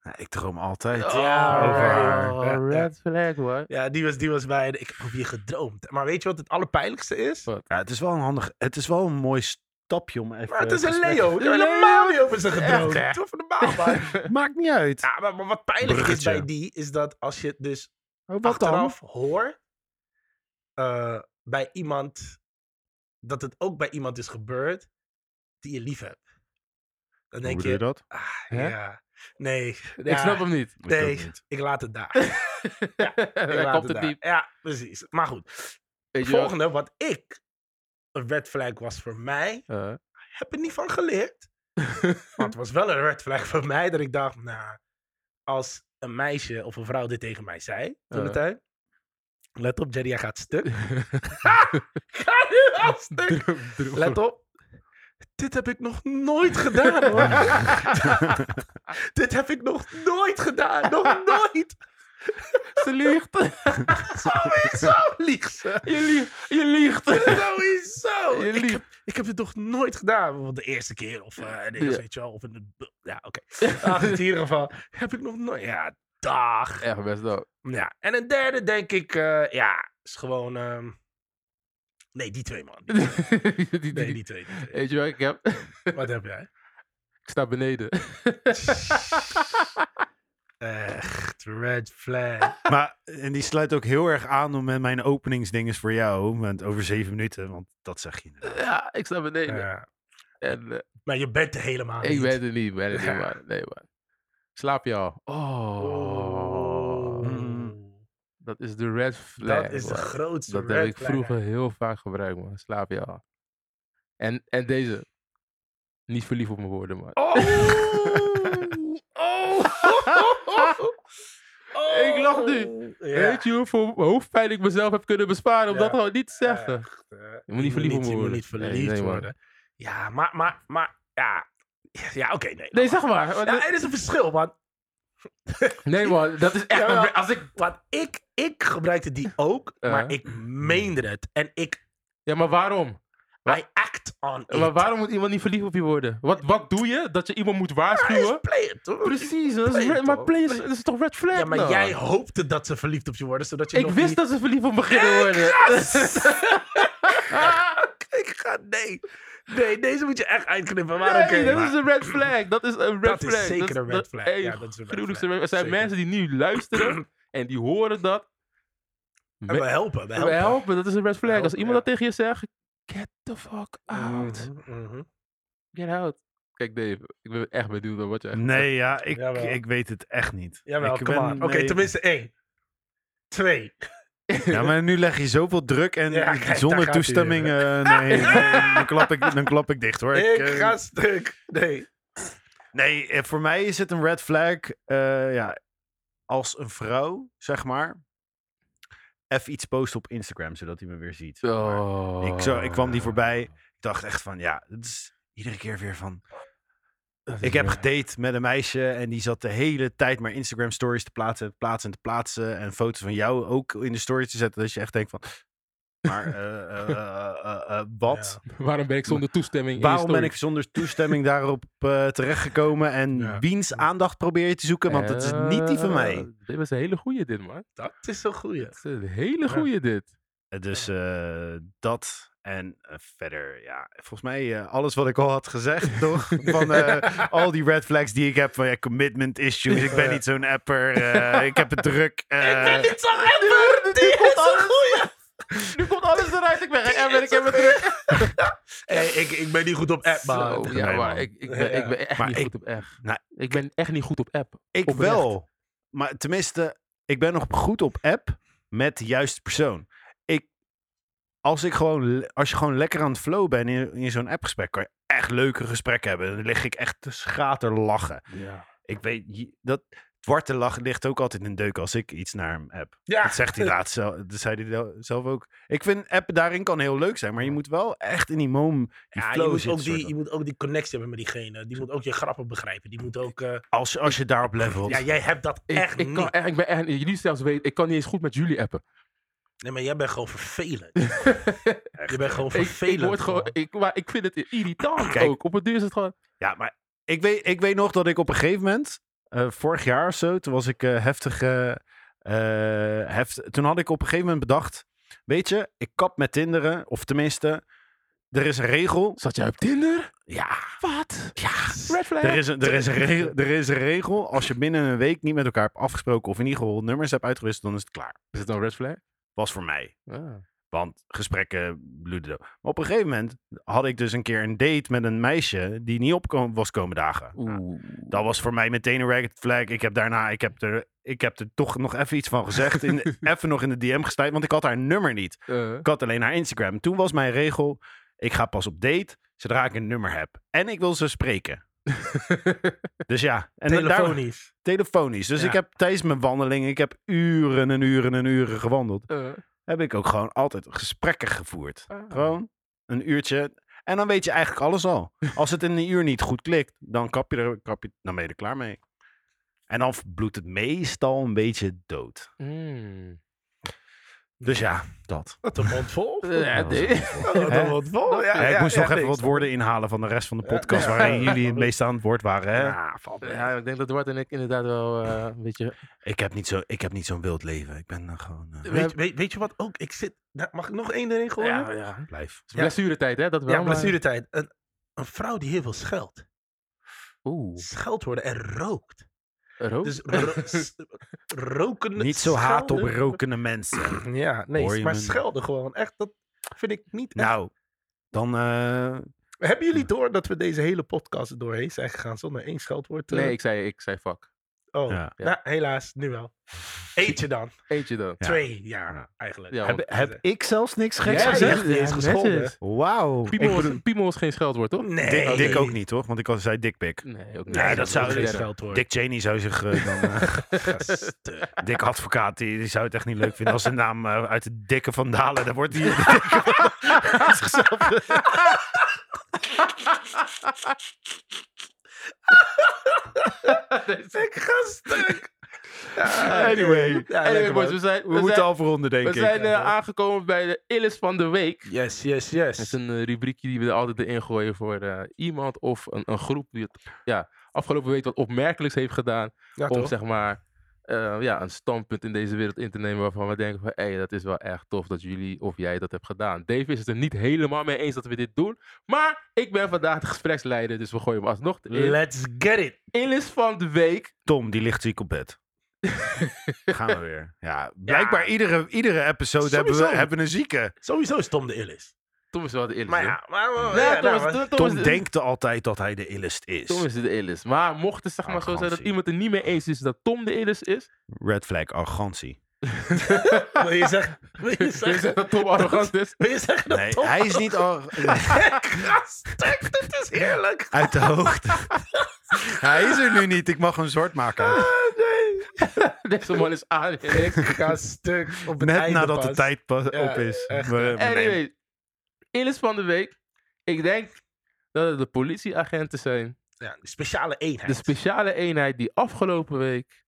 Speaker 3: Ja, ik droom altijd.
Speaker 1: Ja,
Speaker 2: oh,
Speaker 3: over haar.
Speaker 2: oh, red flag, hoor.
Speaker 1: Ja, die was, die was bij de, ik heb over je gedroomd. Maar weet je wat het allerpijnlijkste is?
Speaker 3: Ja, het is wel een handig... Het is wel een mooi stapje om even...
Speaker 1: Maar het is een
Speaker 3: gesprek-
Speaker 1: Leo. Die
Speaker 2: Een
Speaker 1: hebben
Speaker 2: Leo.
Speaker 1: helemaal niet over zijn gedroomd.
Speaker 2: Echt, hè?
Speaker 1: Toch van de baan, man.
Speaker 3: Maakt niet uit.
Speaker 1: Ja, maar, maar wat pijnlijk
Speaker 3: Bruggetje.
Speaker 1: is bij die, is dat als je het dus
Speaker 3: Oh, wat dan?
Speaker 1: achteraf hoort eh, bij iemand, dat het ook bij iemand is gebeurd die je lief hebt. Dan
Speaker 3: Hoe
Speaker 1: denk
Speaker 3: bedoel je
Speaker 1: je,
Speaker 3: dat?
Speaker 1: ah,
Speaker 2: Hè?
Speaker 1: ja, nee.
Speaker 2: Ik
Speaker 1: ja,
Speaker 2: snap hem niet.
Speaker 3: Ik ook
Speaker 1: Nee,
Speaker 3: niet.
Speaker 1: ik laat het daar. Ik
Speaker 2: Hij
Speaker 1: laat het
Speaker 2: komt het
Speaker 1: daar.
Speaker 2: diep.
Speaker 1: Ja, precies. Maar goed,
Speaker 2: Weet je wel?
Speaker 1: volgende, wat ik een red flag was voor mij,
Speaker 2: Eh,
Speaker 1: heb er niet van geleerd. maar het was wel een red flag voor mij dat ik dacht, nou, als een meisje of een vrouw dit tegen mij zei, toen de
Speaker 2: Eh.
Speaker 1: tijd. Let op, Jerry, jij gaat stuk. Ha! Ga nu al stuk.
Speaker 2: droom- droom-
Speaker 1: Let op. Dit heb ik nog nooit gedaan, hoor. dit heb ik nog nooit gedaan. Nog nooit.
Speaker 2: Ze liegt.
Speaker 1: Sowieso liegt ze.
Speaker 2: Je liegt. Je liegt.
Speaker 1: Sowieso.
Speaker 2: Je
Speaker 1: Ik
Speaker 2: liegt.
Speaker 1: heb, ik heb dit nog nooit gedaan. Bijvoorbeeld de eerste keer of eh de eerste,
Speaker 2: Ja.
Speaker 1: weet je wel. Of in de, ja, oké. Ah, in ieder geval heb ik nog nooit... Ja, dag.
Speaker 2: Echt best wel.
Speaker 1: Ja, en een derde denk ik, eh, ja, is gewoon... ehm, nee, die twee man. Die-
Speaker 2: Die-
Speaker 1: Nee, die
Speaker 2: die-
Speaker 1: twee. die twee.
Speaker 2: Weet je wat ik heb?
Speaker 1: Wat heb jij?
Speaker 2: Ik sta beneden.
Speaker 1: Echt, red flag.
Speaker 3: Maar, en die sluit ook heel erg aan om met mijn openingsdinges voor jou. Met over zeven minuten, want dat zeg je inderdaad.
Speaker 2: Ja, ik sta beneden.
Speaker 1: Ja.
Speaker 2: En eh,
Speaker 1: maar je bent er helemaal
Speaker 2: ik
Speaker 1: niet.
Speaker 2: weet het niet, ik weet het
Speaker 1: Ja.
Speaker 2: niet, man. Nee, man. Slaap je al? Oh.
Speaker 1: Oh.
Speaker 2: Dat is de red flag.
Speaker 1: Dat is de
Speaker 2: man.
Speaker 1: grootste
Speaker 2: Dat
Speaker 1: red
Speaker 2: heb ik
Speaker 1: flag.
Speaker 2: vroeger heel vaak gebruikt, man. Slaap je al? En, en deze. Niet verliefd op mijn woorden, man.
Speaker 1: Oh! oh.
Speaker 2: Ik lach nu.
Speaker 1: Ja.
Speaker 2: Weet je hoeveel hoofdpijn ik mezelf heb kunnen besparen om
Speaker 1: Ja.
Speaker 2: dat gewoon niet te zeggen?
Speaker 1: Echt, eh,
Speaker 2: Je moet niet verliefd
Speaker 1: niet-
Speaker 2: op me
Speaker 1: Je moet niet
Speaker 2: worden. Nee,
Speaker 1: verliefd
Speaker 2: nee, man.
Speaker 1: worden. Ja, maar, maar, maar, ja. Ja, oké, nee.
Speaker 2: Nee, zeg maar. want-
Speaker 1: Ja, er is een verschil, man.
Speaker 2: nee, man. Dat is echt...
Speaker 1: Jawel.
Speaker 2: een- als ik...
Speaker 1: Want ik, ik gebruikte die ook,
Speaker 2: Ja.
Speaker 1: maar ik meende het. En ik,
Speaker 2: Ja, maar waarom? Wa-
Speaker 1: I act on it.
Speaker 2: Maar waarom moet iemand niet verliefd op je worden? Wat, wat doe je? Dat je iemand moet
Speaker 1: Hij is
Speaker 2: waarschuwen?
Speaker 1: player, toch?
Speaker 2: Precies, dat is
Speaker 1: play,
Speaker 2: red- maar
Speaker 1: toch?
Speaker 2: play is,
Speaker 1: Play.
Speaker 2: dat is toch red flag?
Speaker 1: Ja, maar
Speaker 2: dan?
Speaker 1: jij hoopte dat ze verliefd op je worden, zodat je
Speaker 2: Ik
Speaker 1: nog
Speaker 2: wist
Speaker 1: niet...
Speaker 2: dat ze verliefd op me gingen worden.
Speaker 1: ik Ah, ga... Nee. Nee, deze moet je echt uitknippen. Maar
Speaker 2: Nee,
Speaker 1: oké.
Speaker 2: dat
Speaker 1: maar-
Speaker 2: is een red flag. Dat is een red
Speaker 1: Dat is
Speaker 2: flag.
Speaker 1: zeker een red flag.
Speaker 2: hey,
Speaker 1: Ja, dat is een red
Speaker 2: gruwelijkste
Speaker 1: flag.
Speaker 2: red- Er zijn
Speaker 1: Zeker.
Speaker 2: mensen die nu luisteren en die horen dat.
Speaker 1: En we helpen, we
Speaker 2: We
Speaker 1: helpen.
Speaker 2: helpen, dat is een red flag. Als
Speaker 1: helpen,
Speaker 2: iemand
Speaker 1: ja.
Speaker 2: dat tegen je zegt, get the fuck out.
Speaker 1: Mhm, mhm.
Speaker 2: Get out. Kijk Dave, ik ben echt benieuwd naar wat jij
Speaker 3: Nee, ja, ik,
Speaker 1: Jawel.
Speaker 3: ik weet het echt niet.
Speaker 1: Jawel,
Speaker 3: ik
Speaker 1: kom
Speaker 3: ben-
Speaker 1: maar. Oké,
Speaker 3: nee.
Speaker 1: tenminste één. Twee.
Speaker 3: Ja, maar nu leg je zoveel druk en
Speaker 1: Ja, kijk, daar
Speaker 3: zonder
Speaker 1: gaat-ie
Speaker 3: toestemming. eh, nee, nee, dan klap, ik, dan klap ik dicht hoor.
Speaker 1: Ik
Speaker 3: eh,
Speaker 1: ga stuk. Nee.
Speaker 3: Nee, eh, voor mij is het een red flag. eh, ja, als een vrouw, zeg maar. Even iets posten op Instagram, zodat hij me weer ziet. zeg maar.
Speaker 2: Oh.
Speaker 3: Ik, zo, ik kwam die voorbij. Ik dacht echt van, ja, het is iedere keer weer van...
Speaker 2: Dat is
Speaker 3: Ik heb
Speaker 2: weer-
Speaker 3: gedate met een meisje en die zat de hele tijd maar Instagram stories te plaatsen, te plaatsen, te plaatsen. En foto's van jou ook in de stories te zetten. Dat je echt denkt van, maar eh, eh, eh, eh, eh, wat?
Speaker 1: Ja.
Speaker 2: Waarom ben ik zonder toestemming
Speaker 3: Waarom
Speaker 2: in je
Speaker 3: ben ik zonder toestemming daarop eh, terechtgekomen? En
Speaker 1: Ja.
Speaker 3: wiens aandacht probeer je te zoeken? Want dat is niet die van mij.
Speaker 2: Eh, dit was een hele goeie dit, man.
Speaker 1: Dat is een goeie.
Speaker 2: Het is een hele goeie dit.
Speaker 3: Eh, Dus eh, dat en eh, verder, ja, volgens mij eh, alles wat ik al had gezegd, toch? Van eh, al die red flags die ik heb, van ja, commitment issues, ik ben niet zo'n apper, eh, ik heb het druk. eh,
Speaker 1: niet zo rapper. Die is een goeie.
Speaker 2: Nu komt alles eruit. Ik ben geen
Speaker 1: emmer, ik heb het
Speaker 2: terug.
Speaker 1: Hey, ik, ik ben niet goed op app, man.
Speaker 2: Zo, ja,
Speaker 3: Nee,
Speaker 2: maar
Speaker 3: man.
Speaker 2: ik, ik, ben,
Speaker 1: Ja.
Speaker 2: ik ben echt
Speaker 3: Maar
Speaker 2: niet
Speaker 3: ik-
Speaker 2: goed op app.
Speaker 3: Nou,
Speaker 2: ik ben echt niet goed op app.
Speaker 3: ik
Speaker 2: oprecht.
Speaker 3: wel, maar tenminste, ik ben nog goed op app met de juiste persoon. Ik, als, ik gewoon, le- als je gewoon lekker aan het flow bent in, in zo'n appgesprek, kan je echt leuke gesprekken hebben. Dan lig ik echt te schater lachen.
Speaker 2: Ja.
Speaker 3: Ik weet, je- dat zwarte lach ligt ook altijd in deuk als ik iets naar hem app.
Speaker 1: Ja,
Speaker 3: Dat zegt hij laatst zelf, dat zei hij wel- zelf ook. Ik vind app daarin kan heel leuk zijn, maar je moet wel echt in die mom, die
Speaker 1: ja, je,
Speaker 3: flow
Speaker 1: moet
Speaker 3: zitten.
Speaker 1: ook
Speaker 3: soort
Speaker 1: die,
Speaker 3: van.
Speaker 1: je moet ook die connectie hebben met diegene. Die moet ook je grappen begrijpen. Die moet ook... eh,
Speaker 3: als, je- als je daarop levelt.
Speaker 1: ja, jij hebt dat
Speaker 2: Ik,
Speaker 1: echt
Speaker 2: ik,
Speaker 1: niet.
Speaker 2: kan, echt- ik ben echt, jullie zelfs weten, ik kan niet eens goed met jullie appen.
Speaker 1: Nee, maar jij bent gewoon vervelend. je bent gewoon
Speaker 2: Ik,
Speaker 1: vervelend.
Speaker 2: ik, word gewoon,
Speaker 1: man.
Speaker 2: ik, maar ik vind het irritant
Speaker 3: Kijk.
Speaker 2: ook. Op het duur is het gewoon...
Speaker 3: Ja, maar ik weet, ik weet nog dat ik op een gegeven moment, eh, vorig jaar of zo, toen was ik eh, heftig. eh, eh, heft, toen had ik op een gegeven moment bedacht: Weet je, ik kap met Tinderen, of tenminste, er is een regel.
Speaker 2: Zat jij op Tinder?
Speaker 3: Ja,
Speaker 2: Wat?
Speaker 3: ja.
Speaker 2: Red flag?
Speaker 3: Er is, een, er, is een regel, er is een regel. Als je binnen een week niet met elkaar hebt afgesproken. of in ieder geval nummers hebt uitgewisseld, dan is het nou klaar.
Speaker 2: Is het dan red flag?
Speaker 3: Was voor mij.
Speaker 2: Ah.
Speaker 3: Want gesprekken bloeden. dood. Maar op een gegeven moment had ik dus een keer een date met een meisje. die niet op ko- was komen dagen.
Speaker 2: Oeh.
Speaker 3: Dat was voor mij meteen een red flag. Ik heb daarna, ik heb er, ik heb er toch nog even iets van gezegd. In, de- even nog in de DM gestuurd, want ik had haar nummer niet.
Speaker 2: Eh,
Speaker 3: Ik had alleen haar Instagram. Toen was mijn regel, ik ga pas op date zodra ik een nummer heb. En ik wil ze spreken. dus ja. En daar-
Speaker 1: Telefonisch.
Speaker 3: telefonisch. Dus
Speaker 1: Ja.
Speaker 3: ik heb tijdens mijn wandeling, ik heb uren en uren en uren gewandeld.
Speaker 2: eh,
Speaker 3: Heb ik ook gewoon altijd gesprekken gevoerd.
Speaker 2: ah.
Speaker 3: Gewoon een uurtje. En dan weet je eigenlijk alles al. Als het in een uur niet goed klikt, dan kap je er, kap je, dan ben je er klaar mee. En dan bloedt het meestal een beetje dood.
Speaker 2: Mm.
Speaker 3: Dus ja, dat.
Speaker 1: Wat een mond vol.
Speaker 2: Eh,
Speaker 3: was
Speaker 2: nee.
Speaker 1: Wat
Speaker 3: Hè?
Speaker 1: een mond vol. Ja,
Speaker 3: Hè, ik
Speaker 1: ja,
Speaker 3: moest
Speaker 1: ja,
Speaker 3: nog even
Speaker 1: niks.
Speaker 3: wat woorden inhalen van de rest van de
Speaker 1: Ja,
Speaker 3: podcast
Speaker 1: ja.
Speaker 3: waarin
Speaker 1: Ja,
Speaker 3: jullie het
Speaker 1: goed.
Speaker 3: meest aan het woord waren. Hè?
Speaker 1: Ja, valt mee.
Speaker 2: Ja, ik denk dat Dwart en ik inderdaad wel eh, een beetje...
Speaker 3: Ik heb niet zo- ik heb niet zo'n wild leven. Ik ben eh, gewoon eh,
Speaker 1: Weet, weet, weet je wat ook? Ik zit, nou, mag ik nog één erin gooien?
Speaker 2: Ja, ja. Het
Speaker 3: blijf.
Speaker 2: is blessuretijd, hè? Dat wel,
Speaker 1: Ja,
Speaker 2: maar-
Speaker 1: blessuretijd. Een, een vrouw die heel veel scheldt.
Speaker 2: Oeh.
Speaker 1: Scheld worden en rookt.
Speaker 2: Rook?
Speaker 1: Dus ro- s- roken.
Speaker 3: Niet zo haat op
Speaker 1: schelden-
Speaker 3: rokende mensen.
Speaker 1: Ja,
Speaker 3: Hoor
Speaker 1: nee,
Speaker 3: je
Speaker 1: maar
Speaker 3: me?
Speaker 1: schelden gewoon. Echt, dat vind ik niet. echt-
Speaker 3: Nou, dan eh,
Speaker 1: Hebben jullie door dat we deze hele podcast er doorheen zijn gegaan zonder één scheldwoord? eh?
Speaker 2: nee, ik zei, ik zei fuck.
Speaker 1: Oh,
Speaker 3: Ja.
Speaker 1: nou, helaas, nu wel. Eentje dan.
Speaker 2: Eentje dan.
Speaker 3: Ja.
Speaker 1: Twee, ja, eigenlijk.
Speaker 2: Ja,
Speaker 3: heb, heb ik zelfs niks geks
Speaker 1: Jij
Speaker 3: gezegd.
Speaker 1: zegt niet eens
Speaker 2: Ja,
Speaker 1: gescholden.
Speaker 2: netjes.
Speaker 3: Wauw.
Speaker 2: Piemel
Speaker 3: Ik
Speaker 2: was-
Speaker 3: bedoel-
Speaker 2: Piemel is geen scheldwoord, toch?
Speaker 1: Nee.
Speaker 3: Dick,
Speaker 1: nee.
Speaker 3: Dick ook niet, toch? Want ik al zei dikpik.
Speaker 2: Nee, ook niet.
Speaker 1: Nee,
Speaker 3: Nee,
Speaker 1: dat
Speaker 3: dat
Speaker 1: zou
Speaker 3: zou
Speaker 1: geen
Speaker 3: ik-
Speaker 1: scheldwoord.
Speaker 3: Dick Cheney zou zich eh, dan... eh,
Speaker 1: Gasten.
Speaker 3: Dick advocaat, die, die zou het echt niet leuk vinden. Als zijn naam eh, uit de dikke van Dalen, dan wordt hij op de dikke Van Dalen zichzelf-
Speaker 1: Ik ga stuk. Ja,
Speaker 3: Anyway.
Speaker 1: ja,
Speaker 2: Anyway,
Speaker 1: lekker,
Speaker 2: boys,
Speaker 1: man.
Speaker 2: we zijn,
Speaker 3: We
Speaker 2: we
Speaker 3: moeten
Speaker 2: zijn,
Speaker 3: afronden, denk
Speaker 2: we
Speaker 3: ik.
Speaker 2: zijn eh, aangekomen bij de Illis van de Week.
Speaker 1: Yes, yes,
Speaker 2: Dat is
Speaker 1: yes.
Speaker 2: een eh, rubriekje die we er altijd in gooien voor eh, iemand of een, een groep die het ja, afgelopen week wat opmerkelijks heeft gedaan.
Speaker 1: Ja,
Speaker 2: om
Speaker 1: toch?
Speaker 2: zeg maar eh, ja, een standpunt in deze wereld in te nemen waarvan we denken van hé, dat is wel echt tof dat jullie of jij dat hebt gedaan. Dave is het er niet helemaal mee eens dat we dit doen. Maar ik ben vandaag de gespreksleider, dus we gooien hem alsnog in.
Speaker 1: Let's get it.
Speaker 2: Illis van de Week.
Speaker 3: Tom, die ligt ziek op bed. Gaan we weer. Ja, blijkbaar iedere, iedere episode hebben we,
Speaker 1: Sowieso.
Speaker 3: hebben we een zieke.
Speaker 1: Sowieso is Tom de Illis.
Speaker 2: Tom is wel de Illis.
Speaker 1: Maar
Speaker 2: hoor.
Speaker 1: ja, maar, maar-
Speaker 2: Ja,
Speaker 1: ja,
Speaker 2: Tom,
Speaker 1: nou,
Speaker 2: is,
Speaker 1: maar-
Speaker 2: Tom, Tom is
Speaker 3: Tom
Speaker 2: de-
Speaker 3: denkt altijd dat hij de illest is.
Speaker 2: Tom is de Illis. Maar mocht het zeg maar zo zijn dat
Speaker 3: Arrogantie.
Speaker 2: iemand er niet mee eens is dat Tom de Illis is.
Speaker 3: Red flag, arrogantie.
Speaker 1: Wil je zeggen, wil je
Speaker 2: dan is
Speaker 1: zeggen,
Speaker 2: het dus dat Tom arrogant is.
Speaker 1: wil je zeggen dat
Speaker 3: Nee,
Speaker 1: Tom...
Speaker 3: hij is niet... ar-
Speaker 1: Gastek, dit is heerlijk.
Speaker 3: Uit de hoogte. hij is er nu niet. Ik mag hem zwart maken.
Speaker 1: Ah, nee.
Speaker 2: Deze man is aan.
Speaker 1: Ik ga stuk op het
Speaker 3: Net
Speaker 1: einde
Speaker 3: nadat de
Speaker 1: pas.
Speaker 3: tijd pas
Speaker 1: Ja,
Speaker 3: op is.
Speaker 1: echt,
Speaker 3: We- we nemen-
Speaker 2: Anyway, Illis van de Week. Ik denk dat het de politieagenten zijn
Speaker 1: Ja, de speciale eenheid.
Speaker 2: De speciale eenheid die afgelopen week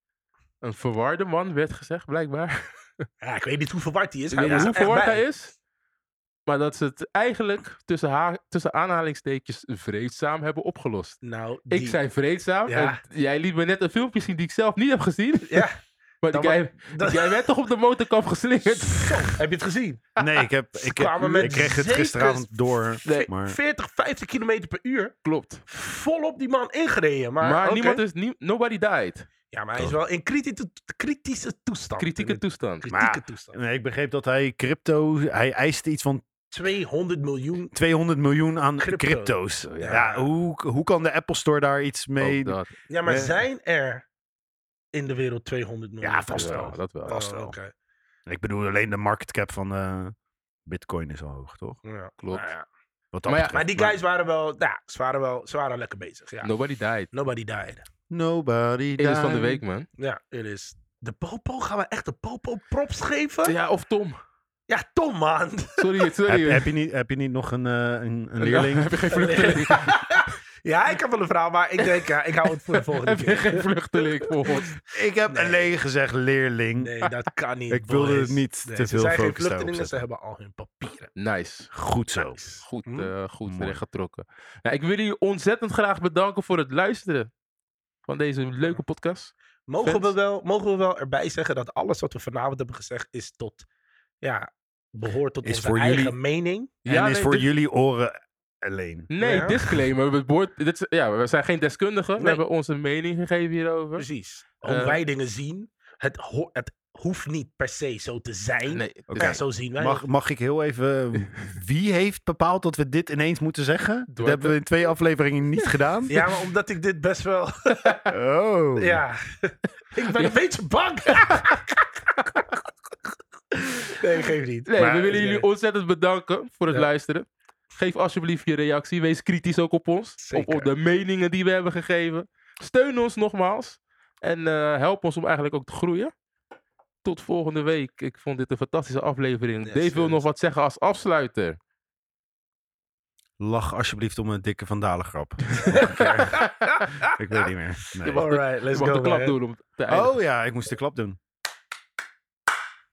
Speaker 2: een verwarde man werd gezegd, blijkbaar.
Speaker 1: ja, ik weet niet hoe verward hij is.
Speaker 2: Ik weet
Speaker 1: is er
Speaker 2: niet hoe
Speaker 1: echt
Speaker 2: verward
Speaker 1: bij.
Speaker 2: hij is. Maar dat ze het eigenlijk tussen, haar, tussen aanhalingstekens vreedzaam hebben opgelost.
Speaker 1: Nou,
Speaker 2: Ik
Speaker 1: die-
Speaker 2: zei vreedzaam.
Speaker 1: Ja.
Speaker 2: En jij liet me net een filmpje zien die ik zelf niet heb gezien.
Speaker 1: Ja,
Speaker 2: Maar die
Speaker 1: Dan
Speaker 2: guy-
Speaker 1: dat-
Speaker 2: jij werd toch op de motorkap geslingerd?
Speaker 1: Zo, heb je het gezien?
Speaker 3: Nee, ik, heb, ik,
Speaker 1: kwamen met
Speaker 3: ik kreeg het
Speaker 1: zekere
Speaker 3: gisteravond door.
Speaker 1: Nee,
Speaker 3: maar
Speaker 1: 40, 50 kilometer per uur.
Speaker 2: Klopt.
Speaker 1: Volop die man ingereden. Maar,
Speaker 2: Maar,
Speaker 1: oké. Oh,
Speaker 2: niemand is... nie- nobody died.
Speaker 1: Ja, maar hij is wel in kritische, kritische toestand.
Speaker 2: Kritieke
Speaker 1: In een
Speaker 2: toestand.
Speaker 1: kritieke
Speaker 3: Maar-
Speaker 1: toestand.
Speaker 3: nee, ik begreep dat hij crypto... Hij eiste iets van
Speaker 1: 200 miljoen.
Speaker 3: 200 miljoen aan
Speaker 1: Crypto.
Speaker 3: crypto's. Ja,
Speaker 1: Ja.
Speaker 3: hoe, hoe kan de Apple Store daar iets mee...
Speaker 2: Ook dat.
Speaker 1: Ja, maar
Speaker 3: Ja.
Speaker 1: zijn er in de wereld 200 miljoen?
Speaker 3: Ja, vast
Speaker 2: Ja,
Speaker 3: wel.
Speaker 2: dat wel.
Speaker 1: Oh,
Speaker 3: Vast wel.
Speaker 1: oké.
Speaker 3: Ik bedoel alleen de market cap van... eh, Bitcoin is al hoog, toch?
Speaker 1: Ja.
Speaker 2: Klopt.
Speaker 1: Nou ja.
Speaker 3: Wat dat
Speaker 2: Maar ja,
Speaker 1: Maar
Speaker 3: betreft.
Speaker 1: die guys waren wel, nou ja, ze waren wel, ze waren lekker bezig. Ja.
Speaker 2: Nobody died.
Speaker 1: Nobody died.
Speaker 3: Nobody
Speaker 2: Eén is van de
Speaker 3: died.
Speaker 2: week, man.
Speaker 1: Ja, it is. De Popo, gaan we echt de Popo props geven? Ja,
Speaker 2: Ja, of Tom.
Speaker 1: Tom, man.
Speaker 2: Sorry, sorry.
Speaker 3: Heb, heb, je niet, heb je niet nog een, eh, een, een leerling?
Speaker 2: Heb je geen vluchteling?
Speaker 1: ja, ik heb wel een verhaal, maar ik denk, ja, ik hou het voor de volgende
Speaker 2: Heb je
Speaker 1: keer.
Speaker 2: geen vluchteling volgens?
Speaker 3: Ik heb
Speaker 1: Nee.
Speaker 3: alleen gezegd leerling.
Speaker 1: Nee, dat kan niet.
Speaker 3: Ik wilde
Speaker 1: boys.
Speaker 3: het niet te
Speaker 1: ze
Speaker 3: veel
Speaker 1: zijn geen
Speaker 3: focus daarop
Speaker 1: vluchtelingen, ze
Speaker 3: zetten.
Speaker 1: hebben al hun papieren.
Speaker 2: Nice.
Speaker 3: Goed zo.
Speaker 1: Nice.
Speaker 2: Goed,
Speaker 1: Hm?
Speaker 2: eh, goed
Speaker 3: Mooi.
Speaker 2: rechtgetrokken. Nou, ik wil jullie ontzettend graag bedanken voor het luisteren van deze leuke podcast.
Speaker 1: Mogen we,
Speaker 2: Fans?
Speaker 1: wel, mogen we wel erbij zeggen dat alles wat we vanavond hebben gezegd is tot, ja, behoort tot
Speaker 3: Is
Speaker 1: onze
Speaker 3: voor
Speaker 1: eigen
Speaker 3: jullie-
Speaker 1: mening?
Speaker 3: En is
Speaker 2: nee,
Speaker 3: voor
Speaker 2: dit-
Speaker 3: jullie oren alleen.
Speaker 2: Nee,
Speaker 1: Ja.
Speaker 2: disclaimer. Het woord, dit, is- ja, we zijn geen deskundigen.
Speaker 1: Nee.
Speaker 2: We hebben onze mening gegeven hierover.
Speaker 1: Precies.
Speaker 2: Eh,
Speaker 1: Hoe wij dingen zien, het, ho- het hoeft niet per se zo te zijn.
Speaker 2: Nee, dus-
Speaker 1: Ja, zo zien wij
Speaker 3: Mag,
Speaker 1: het.
Speaker 3: mag ik heel even... eh, Wie heeft bepaald dat we dit ineens moeten zeggen? Dat
Speaker 2: Dwarte.
Speaker 3: hebben we in twee afleveringen niet gedaan.
Speaker 1: Ja, maar omdat ik dit best wel...
Speaker 3: Oh.
Speaker 1: Ja, ik ben
Speaker 2: Ja.
Speaker 1: een beetje bang. nee, geef niet.
Speaker 2: Nee,
Speaker 1: Maar-
Speaker 2: we willen jullie ontzettend bedanken voor het
Speaker 1: Ja.
Speaker 2: luisteren. Geef alsjeblieft je reactie. Wees kritisch ook op ons. Op,
Speaker 1: Zeker.
Speaker 2: op de meningen die we hebben gegeven. Steun ons nogmaals. En eh, help ons om eigenlijk ook te groeien. Tot volgende week. Ik vond dit een fantastische aflevering.
Speaker 1: Yes,
Speaker 2: Dave wil
Speaker 1: yes.
Speaker 2: nog wat zeggen als afsluiter.
Speaker 3: Lach alsjeblieft om een dikke Vandalen grap. Nog een keer. ik weet niet meer. Nee.
Speaker 1: Alright,
Speaker 2: Je
Speaker 1: let's
Speaker 2: mag
Speaker 1: go.
Speaker 2: de klap
Speaker 1: man. Oh,
Speaker 2: doen om te eindigen.
Speaker 3: Oh ja, ik moest de klap doen.